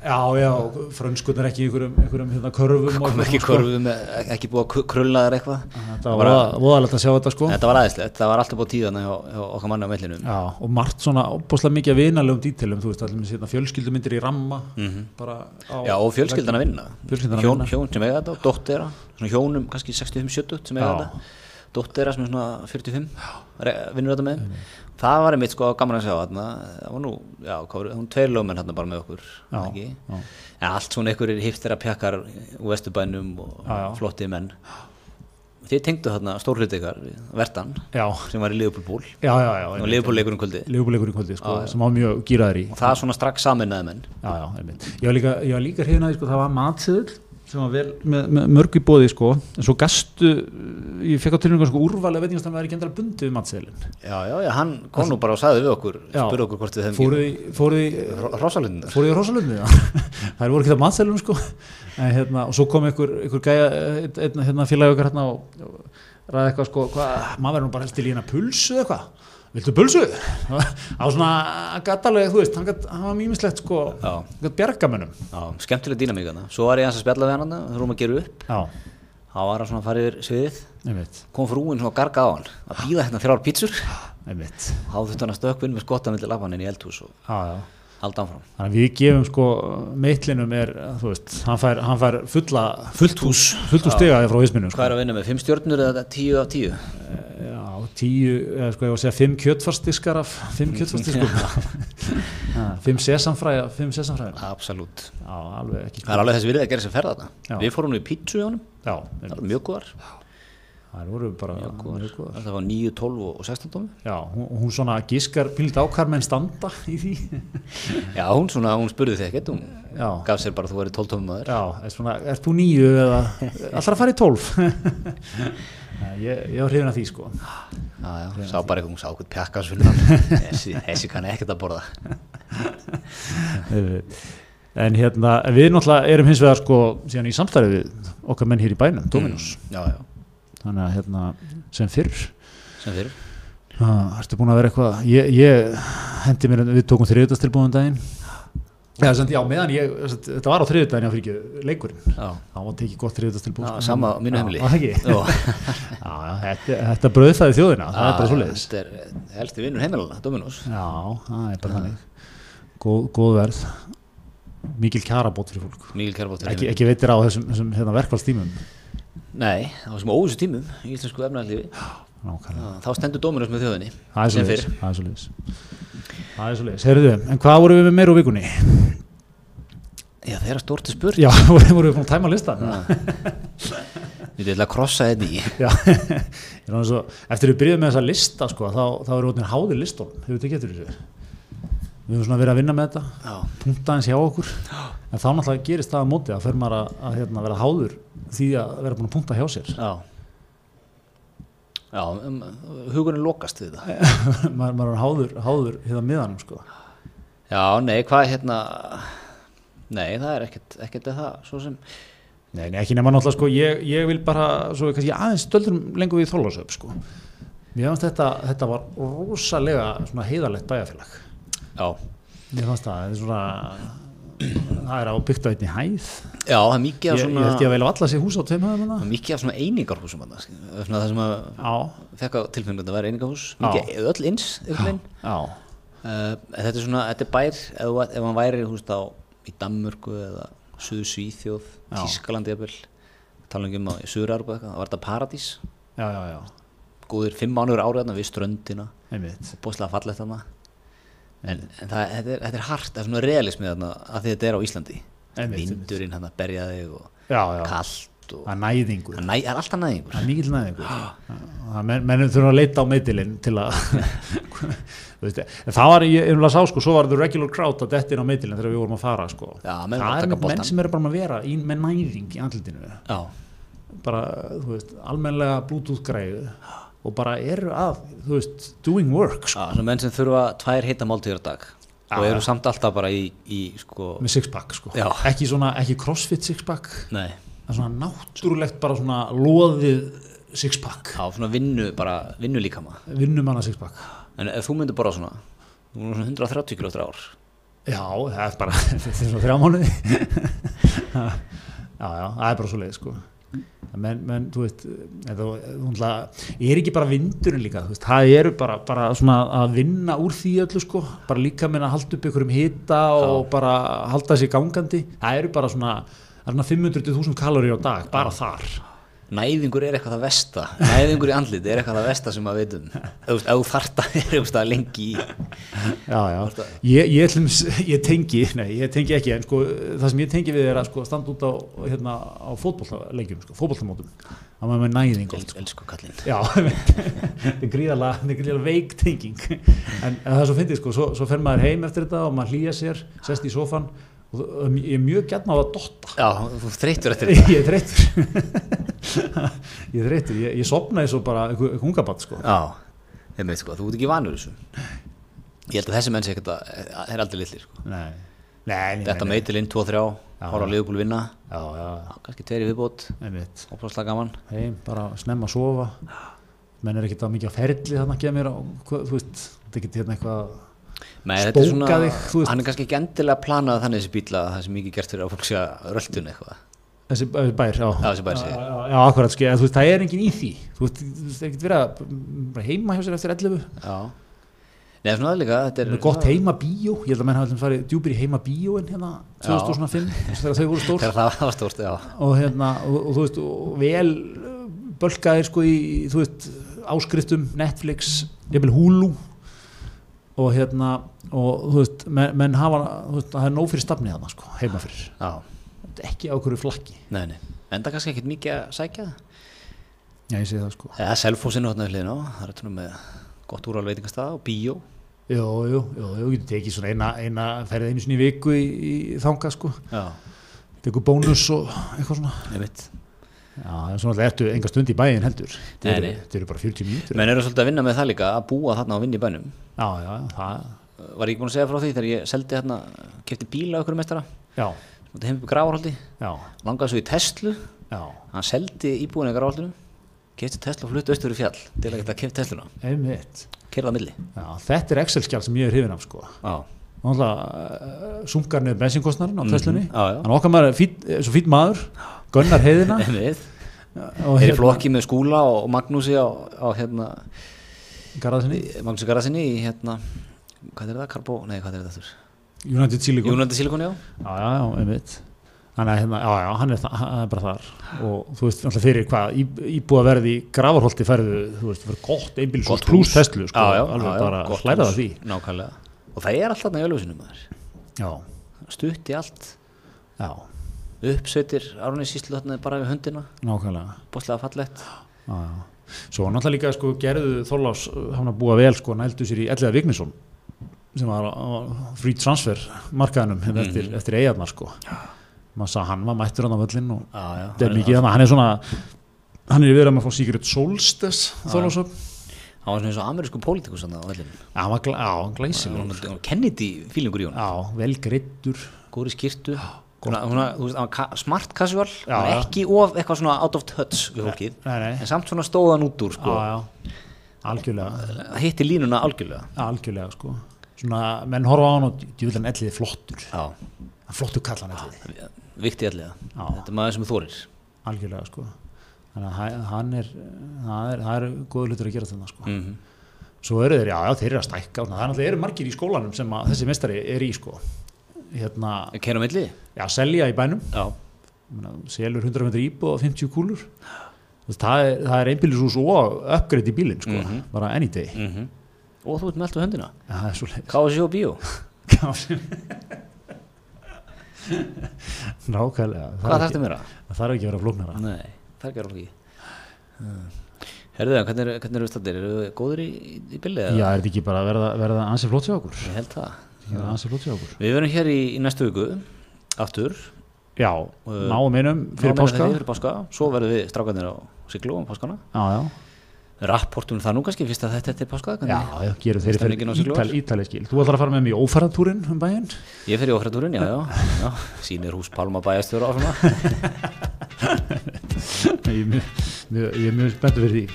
[SPEAKER 2] já, já, frönskunar ekki í einhverjum, einhverjum hérna, körfum og
[SPEAKER 1] kom
[SPEAKER 2] eitthvað
[SPEAKER 1] ekki
[SPEAKER 2] sko.
[SPEAKER 1] korfu með, ekki búið að ku- krulla þar eitthvað.
[SPEAKER 2] þetta var voða- voðalegt að sjá þetta sko
[SPEAKER 1] Þetta var aðeinslegt, það var alltaf búið tíðan hjá, hjá okkar manni á mellinum.
[SPEAKER 2] Já, og margt svona opbúslega mikið að vinalegum dítilum, þú veist, allir með hérna, fjölskyldumindir í ramma, bara á...
[SPEAKER 1] Mhm. Já, og fjölskyldan að vinna.
[SPEAKER 2] Fjölskyldan að
[SPEAKER 1] hjón,
[SPEAKER 2] vinna.
[SPEAKER 1] Hjón sem eiga þetta og dóttir þeirra, svona hjónum kannski 65-70 sem eiga
[SPEAKER 2] Já.
[SPEAKER 1] þetta. Dóttir þeirra sem er svona 45, re- vinnur þetta með þeim. Það var einmitt sko gaman að sjá þarna, það var nú, já, hvað voru, hún tveir lögmenn hérna bara með okkur,
[SPEAKER 2] Já,
[SPEAKER 1] ekki?
[SPEAKER 2] já.
[SPEAKER 1] En allt svona einhverjir hipstera pjakkar úr vesturbænum og
[SPEAKER 2] Já, já.
[SPEAKER 1] flotti menn. Þið tengdu þarna stórhluti ykkar, við Vertan,
[SPEAKER 2] Já,
[SPEAKER 1] sem var í Liverpool-ból
[SPEAKER 2] já, já, já.
[SPEAKER 1] og Liverpool-leikur um kvöldi.
[SPEAKER 2] Leifbúleikur í kvöldi, sko, sem var mjög gýraður í.
[SPEAKER 1] Og það svona strax saminnaði menn.
[SPEAKER 2] Já, já, einmitt. Ég var líka, ég var líka hrifin að því, sko, það var matsiðil sem var vel með, með mörg í bóði, sko, en svo gastu, ég fekk á tilhengu, sko, úrvalið veitingast að maður er ekki endala bundið við matsiðilin.
[SPEAKER 1] Já, já, já, hann kom nú bara og sagði við okkur,
[SPEAKER 2] Já.
[SPEAKER 1] spurði okkur hvort við hefum
[SPEAKER 2] Fóruð í, fóruð í,
[SPEAKER 1] ekki rosalindar.
[SPEAKER 2] fór ég á rosalundið þær voru ekki það matselum sko en, hérna, og svo kom einhver, einhver gæja einn- einn hérna, félagi okkar hérna og, og ræði eitthvað sko, hva, maður verður nú bara helst til í hérna pulsu eða eitthvað viltu pulsu? á svona gattalega, þú veist, hann, gat, hann var mýmislegt sko,
[SPEAKER 1] Já.
[SPEAKER 2] hann gat bjargamönnum
[SPEAKER 1] Já, skemmtileg dýnamík hann. Svo var ég hans að spjalla við hann þarna, við þurfum að gera upp.
[SPEAKER 2] já,
[SPEAKER 1] Þá var hann svona að fara yfir sviðið,
[SPEAKER 2] einmitt,
[SPEAKER 1] kom frúin svona að garga á hann, að býða hérna þrjár pítsur.
[SPEAKER 2] einmitt
[SPEAKER 1] Þá þurfti hann að stökkvinn með skotta millir lafann inn í eldhús og
[SPEAKER 2] já, já
[SPEAKER 1] halda áfram.
[SPEAKER 2] Þannig að við gefum sko meitlinum er, þú veist, hann fær, hann fær fulla, fullt hús, fullt hús stegaði frá hisminu. Sko.
[SPEAKER 1] Hvað er að vinna með? Fimm stjórnur eða tíu af tíu?
[SPEAKER 2] Eh, Já, tíu, eða sko ég var að segja fimm kjötfarsdiskar af fimm kjötfarsdiskum Ha, fimm sesamfræja fimm sesamfræja,
[SPEAKER 1] Absolutt.
[SPEAKER 2] já, alveg ekki
[SPEAKER 1] Það er alveg þessi virðið að gera sem ferða
[SPEAKER 2] Já.
[SPEAKER 1] þarna. Við fórum nú í pítsu í honum,
[SPEAKER 2] já,
[SPEAKER 1] það var mjög góðar.
[SPEAKER 2] það voru bara mjög góðar.
[SPEAKER 1] Það var 9, 12 og 16 tómi.
[SPEAKER 2] já, hún, hún svona gískar pílit ákar menn standa í því
[SPEAKER 1] Já, hún svona, hún spurði þig ekkert, hún
[SPEAKER 2] já,
[SPEAKER 1] gaf sér bara að þú verið 12 tómi maður.
[SPEAKER 2] já, er svona, ert þú nýju eða allra að fara í tólf ég, ég var hrifin að því sko
[SPEAKER 1] Já, já, sá bara eitthvað, hún sá eitthvað pjakkarsvinnan, þessi, þessi kann ekkert að borða.
[SPEAKER 2] en hérna, við náttúrulega erum hins vegar sko síðan í samstarfið við okkar menn hér í bænum, Dominus
[SPEAKER 1] Mm. Já, já,
[SPEAKER 2] þannig að hérna, sem fyrr
[SPEAKER 1] sem fyrir.
[SPEAKER 2] Það ertu búin að vera eitthvað ég, ég hendi mér, við tókum þriðutastilbúðum daginn Já, sem, já, meðan ég, sem, þetta var á þriðudaginn, já, fyrir ekki, leikurinn
[SPEAKER 1] Já,
[SPEAKER 2] þá var tekið gott þriðutastilbúð
[SPEAKER 1] já sama á mínu heimili.
[SPEAKER 2] Já, það ekki.
[SPEAKER 1] Já,
[SPEAKER 2] já, já, þetta, þetta bröðfæði þjóðina, það er bara svo leiðis
[SPEAKER 1] Þetta er helsti vinnur heimilana, Dominus.
[SPEAKER 2] Já, það er bara þannig góð, góð verð mikil kjarabót fyrir fólk
[SPEAKER 1] Mikil Kjærvóttur.
[SPEAKER 2] ekki, ekki veitir á þessum, þessum hérna, verkvallstímum
[SPEAKER 1] Nei, á þessum óvissu tímum í íslensku efnæðlífi,
[SPEAKER 2] Nákvæmlega.
[SPEAKER 1] þá stendur Dominus með þjóðinni.
[SPEAKER 2] það er svo
[SPEAKER 1] sem
[SPEAKER 2] leiðis
[SPEAKER 1] fyrr.
[SPEAKER 2] það er svo leiðis það er svo leiðis, heyrðu, en hvað vorum við með meir úr vikunni?
[SPEAKER 1] Já, þeirra stórti spurt.
[SPEAKER 2] Já, vorum við búin að tæma listan?
[SPEAKER 1] Við ætla að krossa þetta í.
[SPEAKER 2] Já, ég er orðinn svo, eftir við byrjuðum með þessa lista sko, þá, þá erum við orðin háðir listunum, hefur þetta getur þessu? Við höfum svona verið að vinna með þetta,
[SPEAKER 1] Já,
[SPEAKER 2] punkt aðeins hjá okkur, en þá náttúrulega gerist það að móti að fer maður að, að hérna, vera háður því að vera búin að punkta hjá sér.
[SPEAKER 1] já. Já, um, hugurinn lokast við það.
[SPEAKER 2] maður, maður er háður, háður hérna miðanum sko.
[SPEAKER 1] Já, nei, hvað er hérna, nei, það er ekkert, ekkert eða það, svo sem,
[SPEAKER 2] Nei, nei, ekki nema náttúrulega sko, ég, ég vil bara, svo við kannski aðeins stöldrum lengur við þólasöf sko. Mér fannst þetta, þetta var rosalega svona heiðarlegt bæjarfélag.
[SPEAKER 1] já,
[SPEAKER 2] Mér fannst það, þetta er svona það er á byggt á einni hæð
[SPEAKER 1] Já, það er mikið af
[SPEAKER 2] ég,
[SPEAKER 1] svona,
[SPEAKER 2] ég held ég að vel valla sér hús á tveim hæðum
[SPEAKER 1] það er
[SPEAKER 2] hana.
[SPEAKER 1] mikið af svona einingarhúsum þarna, skilur við, svona það sem að
[SPEAKER 2] Já,
[SPEAKER 1] fekk á tilfengjum að það væri einingarhús,
[SPEAKER 2] Já.
[SPEAKER 1] mikið öll eins einhvern veginn,
[SPEAKER 2] já,
[SPEAKER 1] uh, en þetta er svona, þetta er bær ef, þú- ef hann væri húst á í Danmörku eða Suðu Svíþjóð
[SPEAKER 2] Já.
[SPEAKER 1] Tískalandi jafnvel, tala ekki um að í Suðurarbu eitthvað, það var þetta paradís
[SPEAKER 2] já, já, já
[SPEAKER 1] góðir fimm mánuður árið þarna við ströndina
[SPEAKER 2] einmitt,
[SPEAKER 1] og bóðslega fallegt þarna en, en það, þetta, er, þetta er hart, það er svona realismið þarna að því þetta er á Íslandi
[SPEAKER 2] Einmitt, einmitt.
[SPEAKER 1] vindurinn hann að berja þig og
[SPEAKER 2] já, já,
[SPEAKER 1] kallt og
[SPEAKER 2] að næðingur
[SPEAKER 1] það næ- það er alltaf næðingur
[SPEAKER 2] það er mikill næðingur það menn, mennum þurfa að leita á meitilinn til að þú veist, en það var, ég um að sá sko, svo var the regular crowd að dettin á meitilinn þegar við vorum að fara sko.
[SPEAKER 1] Já, menn voru að
[SPEAKER 2] það er
[SPEAKER 1] taka boltann.
[SPEAKER 2] menn sem eru bara með að vera í, með næðing í andlitinu
[SPEAKER 1] já,
[SPEAKER 2] bara, þú veist, almennlega bluetooth græðu og bara eru að, þú veist, doing work sko.
[SPEAKER 1] já, svona menn sem þurfa tvær heita máltíður á dag
[SPEAKER 2] Já,
[SPEAKER 1] og
[SPEAKER 2] já.
[SPEAKER 1] eru samt alltaf bara í, í sko,
[SPEAKER 2] með sixpack sko.
[SPEAKER 1] Já.
[SPEAKER 2] ekki svona, ekki crossfit sixpack
[SPEAKER 1] nei,
[SPEAKER 2] það er svona náttúrulegt bara svona loðið sixpack
[SPEAKER 1] já, svona vinnu bara, vinnu líkama
[SPEAKER 2] vinnum hana sixpack
[SPEAKER 1] en ef þú myndir bara svona þú erum svona 130 kilo eftir ár
[SPEAKER 2] já, það er bara, þetta er svona þrjá mánuði já, já, það er bara svo leið sko menn, menn, þú veist eða, þú ætla, er ekki bara vindurinn líka þú veist, það eru bara, bara svona að vinna úr því öllu sko, bara líka minna að halda upp ykkur um hita og bara halda sér gangandi, það eru bara svona það er svona 500.000 kalori á dag bara þar,
[SPEAKER 1] Næðingur er eitthvað það vesta Næðingur í andliti er eitthvað það vesta sem maður veitum Ef þú veist, ef þú þarft að er eitthvað lengi í
[SPEAKER 2] já, já ég, ég, tlumis, ég tengi, nei, ég tengi ekki en sko, það sem ég tengi við er að sko, standa út á, hérna, á fótbollalegjum sko, fótbollamótum, það maður með næðing oft,
[SPEAKER 1] El, Elsku kallinn
[SPEAKER 2] Já, þetta er gríðalega, þetta er gríðalega veik tenging en, en það er svo fyndið sko, svo, svo fer maður heim eftir þetta og maður hlýja sér, sest í sofan og þú- um, ég er mjög gætna á að dotta
[SPEAKER 1] Já, þú þreytur eftir þetta
[SPEAKER 2] ég er þreytur ég er þreytur, ég, ég sopnaði svo bara einhver einhver ungabatt sko
[SPEAKER 1] Já, ég veit sko, þú ert ekki vanur þessu Ég held að þessi menn sé ekkert að Það er aldrei litlir sko
[SPEAKER 2] nei, nei, nei,
[SPEAKER 1] Þetta
[SPEAKER 2] nei, nei.
[SPEAKER 1] meitilinn, 2-3,
[SPEAKER 2] Já.
[SPEAKER 1] horfa á liðbúl vinna
[SPEAKER 2] já, já,
[SPEAKER 1] Já, Kannski tveir í viðbót,
[SPEAKER 2] einmitt
[SPEAKER 1] oplasla gaman
[SPEAKER 2] heim, bara snemma að sofa menn er ekkert á mikið að ferli þarna að gefa mér á, hvað, þú veist, þetta er ekkert hérna eitthvað
[SPEAKER 1] Nei, þetta er
[SPEAKER 2] Spóka
[SPEAKER 1] svona,
[SPEAKER 2] þig, þú veist.
[SPEAKER 1] hann er kannski ekki endilega planað þannig þessi bíla það sem mikið gert fyrir að fólk sé að röldun eitthvað
[SPEAKER 2] þessi þessi bær, já,
[SPEAKER 1] Já, þessi bær, segi ég.
[SPEAKER 2] já, já, já, akkurat, skil, en þú veist, það er engin í því þú veist, þú veist, það er ekkert verið að bara heima hjá sér eftir 11
[SPEAKER 1] Já Nei, svona aðlega, þetta er
[SPEAKER 2] það er gott heima bíó, ég held að menn hafa alltaf farið djúpir í heima bíó en hérna 2005, þess að þau voru stór
[SPEAKER 1] Þegar það var stórt, já
[SPEAKER 2] og hérna, og, og þú veist, og vel uh, bölkaðir sko í, þú veist áskriftum, Netflix jafnvel Hulu og hérna, og þú veist menn, menn hafa, þú veist, það er nóg fyrir stafnið þarna sko, heima fyrir,
[SPEAKER 1] Já,
[SPEAKER 2] Þetta er ekki á hverju flakki
[SPEAKER 1] nei, nei Enda kannski ekkert mikið að sækja það
[SPEAKER 2] já, ég sé það sko
[SPEAKER 1] Eða selfósinu hérna við hliðin á Það er þetta nú með gott úrval veitingastað og bíó
[SPEAKER 2] Jú, jú, jú, jú, getur tekið svona eina, eina ferðið einu sinni í viku í, í þanga sko,
[SPEAKER 1] Já,
[SPEAKER 2] tekur bónus og eitthvað svona.
[SPEAKER 1] einmitt
[SPEAKER 2] Já, það er svona alltaf ertu enga stund í bæin heldur. Þetta
[SPEAKER 1] Nei,
[SPEAKER 2] eru-
[SPEAKER 1] nei.
[SPEAKER 2] Þetta eru bara 40 mínútur.
[SPEAKER 1] Menn eru svolítið að vinna með það líka að búa þarna og vinna í bænum
[SPEAKER 2] Já, já, það,
[SPEAKER 1] Var ég ekki búin að segja frá því þegar ég seldi hérna Kefti bíla okkur mestara
[SPEAKER 2] já,
[SPEAKER 1] Þetta heim upp í grafarhaldi
[SPEAKER 2] já,
[SPEAKER 1] Langaði svo í Tesla
[SPEAKER 2] já,
[SPEAKER 1] Hann seldi íbúinu í grafarhaldinu Kefti Tesla og flutti austur í fjall Til að geta keft Tesluna
[SPEAKER 2] einmitt.
[SPEAKER 1] Kerða milli
[SPEAKER 2] Já, þetta er Excel-skjál sem ég er hrifin af sko.
[SPEAKER 1] Já,
[SPEAKER 2] Náttúrulega uh, sunkar niður bensinkostnarinn á Teslunni.
[SPEAKER 1] Mhm. já, já.
[SPEAKER 2] Þannig okkar maður er fít, er svo fýtt maður, gunnar heiðina.
[SPEAKER 1] einmitt
[SPEAKER 2] og
[SPEAKER 1] Er í
[SPEAKER 2] hérna-
[SPEAKER 1] flokki með skúla og Magnúsi á, á hérna
[SPEAKER 2] Garðarsinni.
[SPEAKER 1] Magnús Garðarsinni í hérna hvað er það, Karbo, nei hvað er það þurr
[SPEAKER 2] United Silicon.
[SPEAKER 1] Júnandi Silikon, já
[SPEAKER 2] Já, já, já, einmitt. Þannig að hérna, já, já, hann er, þa hann er bara þar og þú veist, alltaf fyrir hvað, íbúa verði gravarholti færðu, þú veist, fyrir gott einbílisús pluss testlu, sko, alveg bara
[SPEAKER 1] gott
[SPEAKER 2] hlæra
[SPEAKER 1] hús,
[SPEAKER 2] það því.
[SPEAKER 1] nákvæmlega, og það er alltaf í Ölfusinum maður,
[SPEAKER 2] Já,
[SPEAKER 1] stutt í allt
[SPEAKER 2] já,
[SPEAKER 1] uppsveitir Árnins Íslu þarna bara við höndina,
[SPEAKER 2] nákvæmlega.
[SPEAKER 1] bóðslega fallegt
[SPEAKER 2] Já, já. Svo náttúrulega líka, sko, gerðu Þorlás, hann að búa vel, sko, nældu sér í Elliða Vignisson sem var á- á free transfer markaðinum hérna eftir, eftir eigarnar, sko. Man sá hann var mættur hann á völlinn og
[SPEAKER 1] já, já,
[SPEAKER 2] þetta er mikið þannig, hann er svona, hann er verið að maður fá Sigurd Solstes, Þorlásöp,
[SPEAKER 1] hann var svona eins og amerísku pólitíkus þarna á vellinu
[SPEAKER 2] Já, hann var glæ, á, hann glæsilegur.
[SPEAKER 1] Hún- hún- Kennedy fílingur í hún,
[SPEAKER 2] Já, vel greittur.
[SPEAKER 1] góri skýrtu Svona, svona, þú veist, hann var ka- smart casual
[SPEAKER 2] Já,
[SPEAKER 1] hann var
[SPEAKER 2] já.
[SPEAKER 1] ekki of eitthvað svona out of touch við fólkið,
[SPEAKER 2] Nei, nei.
[SPEAKER 1] en samt svona stóðan út úr
[SPEAKER 2] Já,
[SPEAKER 1] sko,
[SPEAKER 2] já. Algjörlega,
[SPEAKER 1] hitti línuna algjörlega
[SPEAKER 2] algjörlega sko. Svona, menn horfa á hann og djúðlega ellið er flottur.
[SPEAKER 1] Já,
[SPEAKER 2] Hann er Flottur kallan ellið.
[SPEAKER 1] vikti allega
[SPEAKER 2] Já.
[SPEAKER 1] Þetta er maður sem þorir
[SPEAKER 2] Algjörlega sko. Þannig að hæ- hann er, það er, það er góður hlutur að gera þarna sko.
[SPEAKER 1] mm -hmm.
[SPEAKER 2] Svo eru þeir, já, já, þeir eru að stækka. og svona. Það er náttúrulega eru margir í skólanum sem að þessi mestari er í sko. Hérna,
[SPEAKER 1] Keir á milli
[SPEAKER 2] já, selja í bænum.
[SPEAKER 1] Já,
[SPEAKER 2] Ég meina, selur 100 metri íbúð og 50 kúlur Þú veist, það er, það er einbýlisús og uppgreit í bílinn sko,
[SPEAKER 1] Mhm.
[SPEAKER 2] bara any day
[SPEAKER 1] og þú ert með allt á höndina
[SPEAKER 2] ja, það er svo leið
[SPEAKER 1] KSJ og Bíó
[SPEAKER 2] nákvæmlega það
[SPEAKER 1] Hvað
[SPEAKER 2] er
[SPEAKER 1] þarftu
[SPEAKER 2] ekki-
[SPEAKER 1] meira?
[SPEAKER 2] það þarf ekki að vera flóknara
[SPEAKER 1] Nei, það gerur ekki Herðu það, hvernig eru- hvernig eru við stættir? Eru við góðir í, í, í billið?
[SPEAKER 2] já, er þetta ekki bara að verða, verða ansi flott hjá okkur
[SPEAKER 1] Ég held það
[SPEAKER 2] verða ansi flott hjá okkur
[SPEAKER 1] Við verum hér í, í næstu viku aftur
[SPEAKER 2] já,
[SPEAKER 1] Uh,
[SPEAKER 2] náum einum fyrir
[SPEAKER 1] Náum við
[SPEAKER 2] páska
[SPEAKER 1] því Fyrir páska, svo verðum við strákanir á siglu um páskana
[SPEAKER 2] já, já,
[SPEAKER 1] Rapportum það nú kannski, fyrst að þetta er til páska
[SPEAKER 2] já,
[SPEAKER 1] hvernig?
[SPEAKER 2] já gerum þeirri
[SPEAKER 1] Stemningin á sig
[SPEAKER 2] fyrir
[SPEAKER 1] glóðar.
[SPEAKER 2] ítal, ítalið skil þú ætlar að fara með mig í ófæratúrin um bæinn
[SPEAKER 1] Ég fer í óhrættúrin, já, já, já Sýnir hús Palma bæjastjóra og svona
[SPEAKER 2] ég, er mjög- mjög- ég er mjög spenntur fyrir því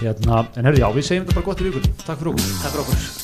[SPEAKER 2] hérna, en herri, já, við segjum þetta bara gott í vikunni takk fyrir okkur
[SPEAKER 1] Takk fyrir okkur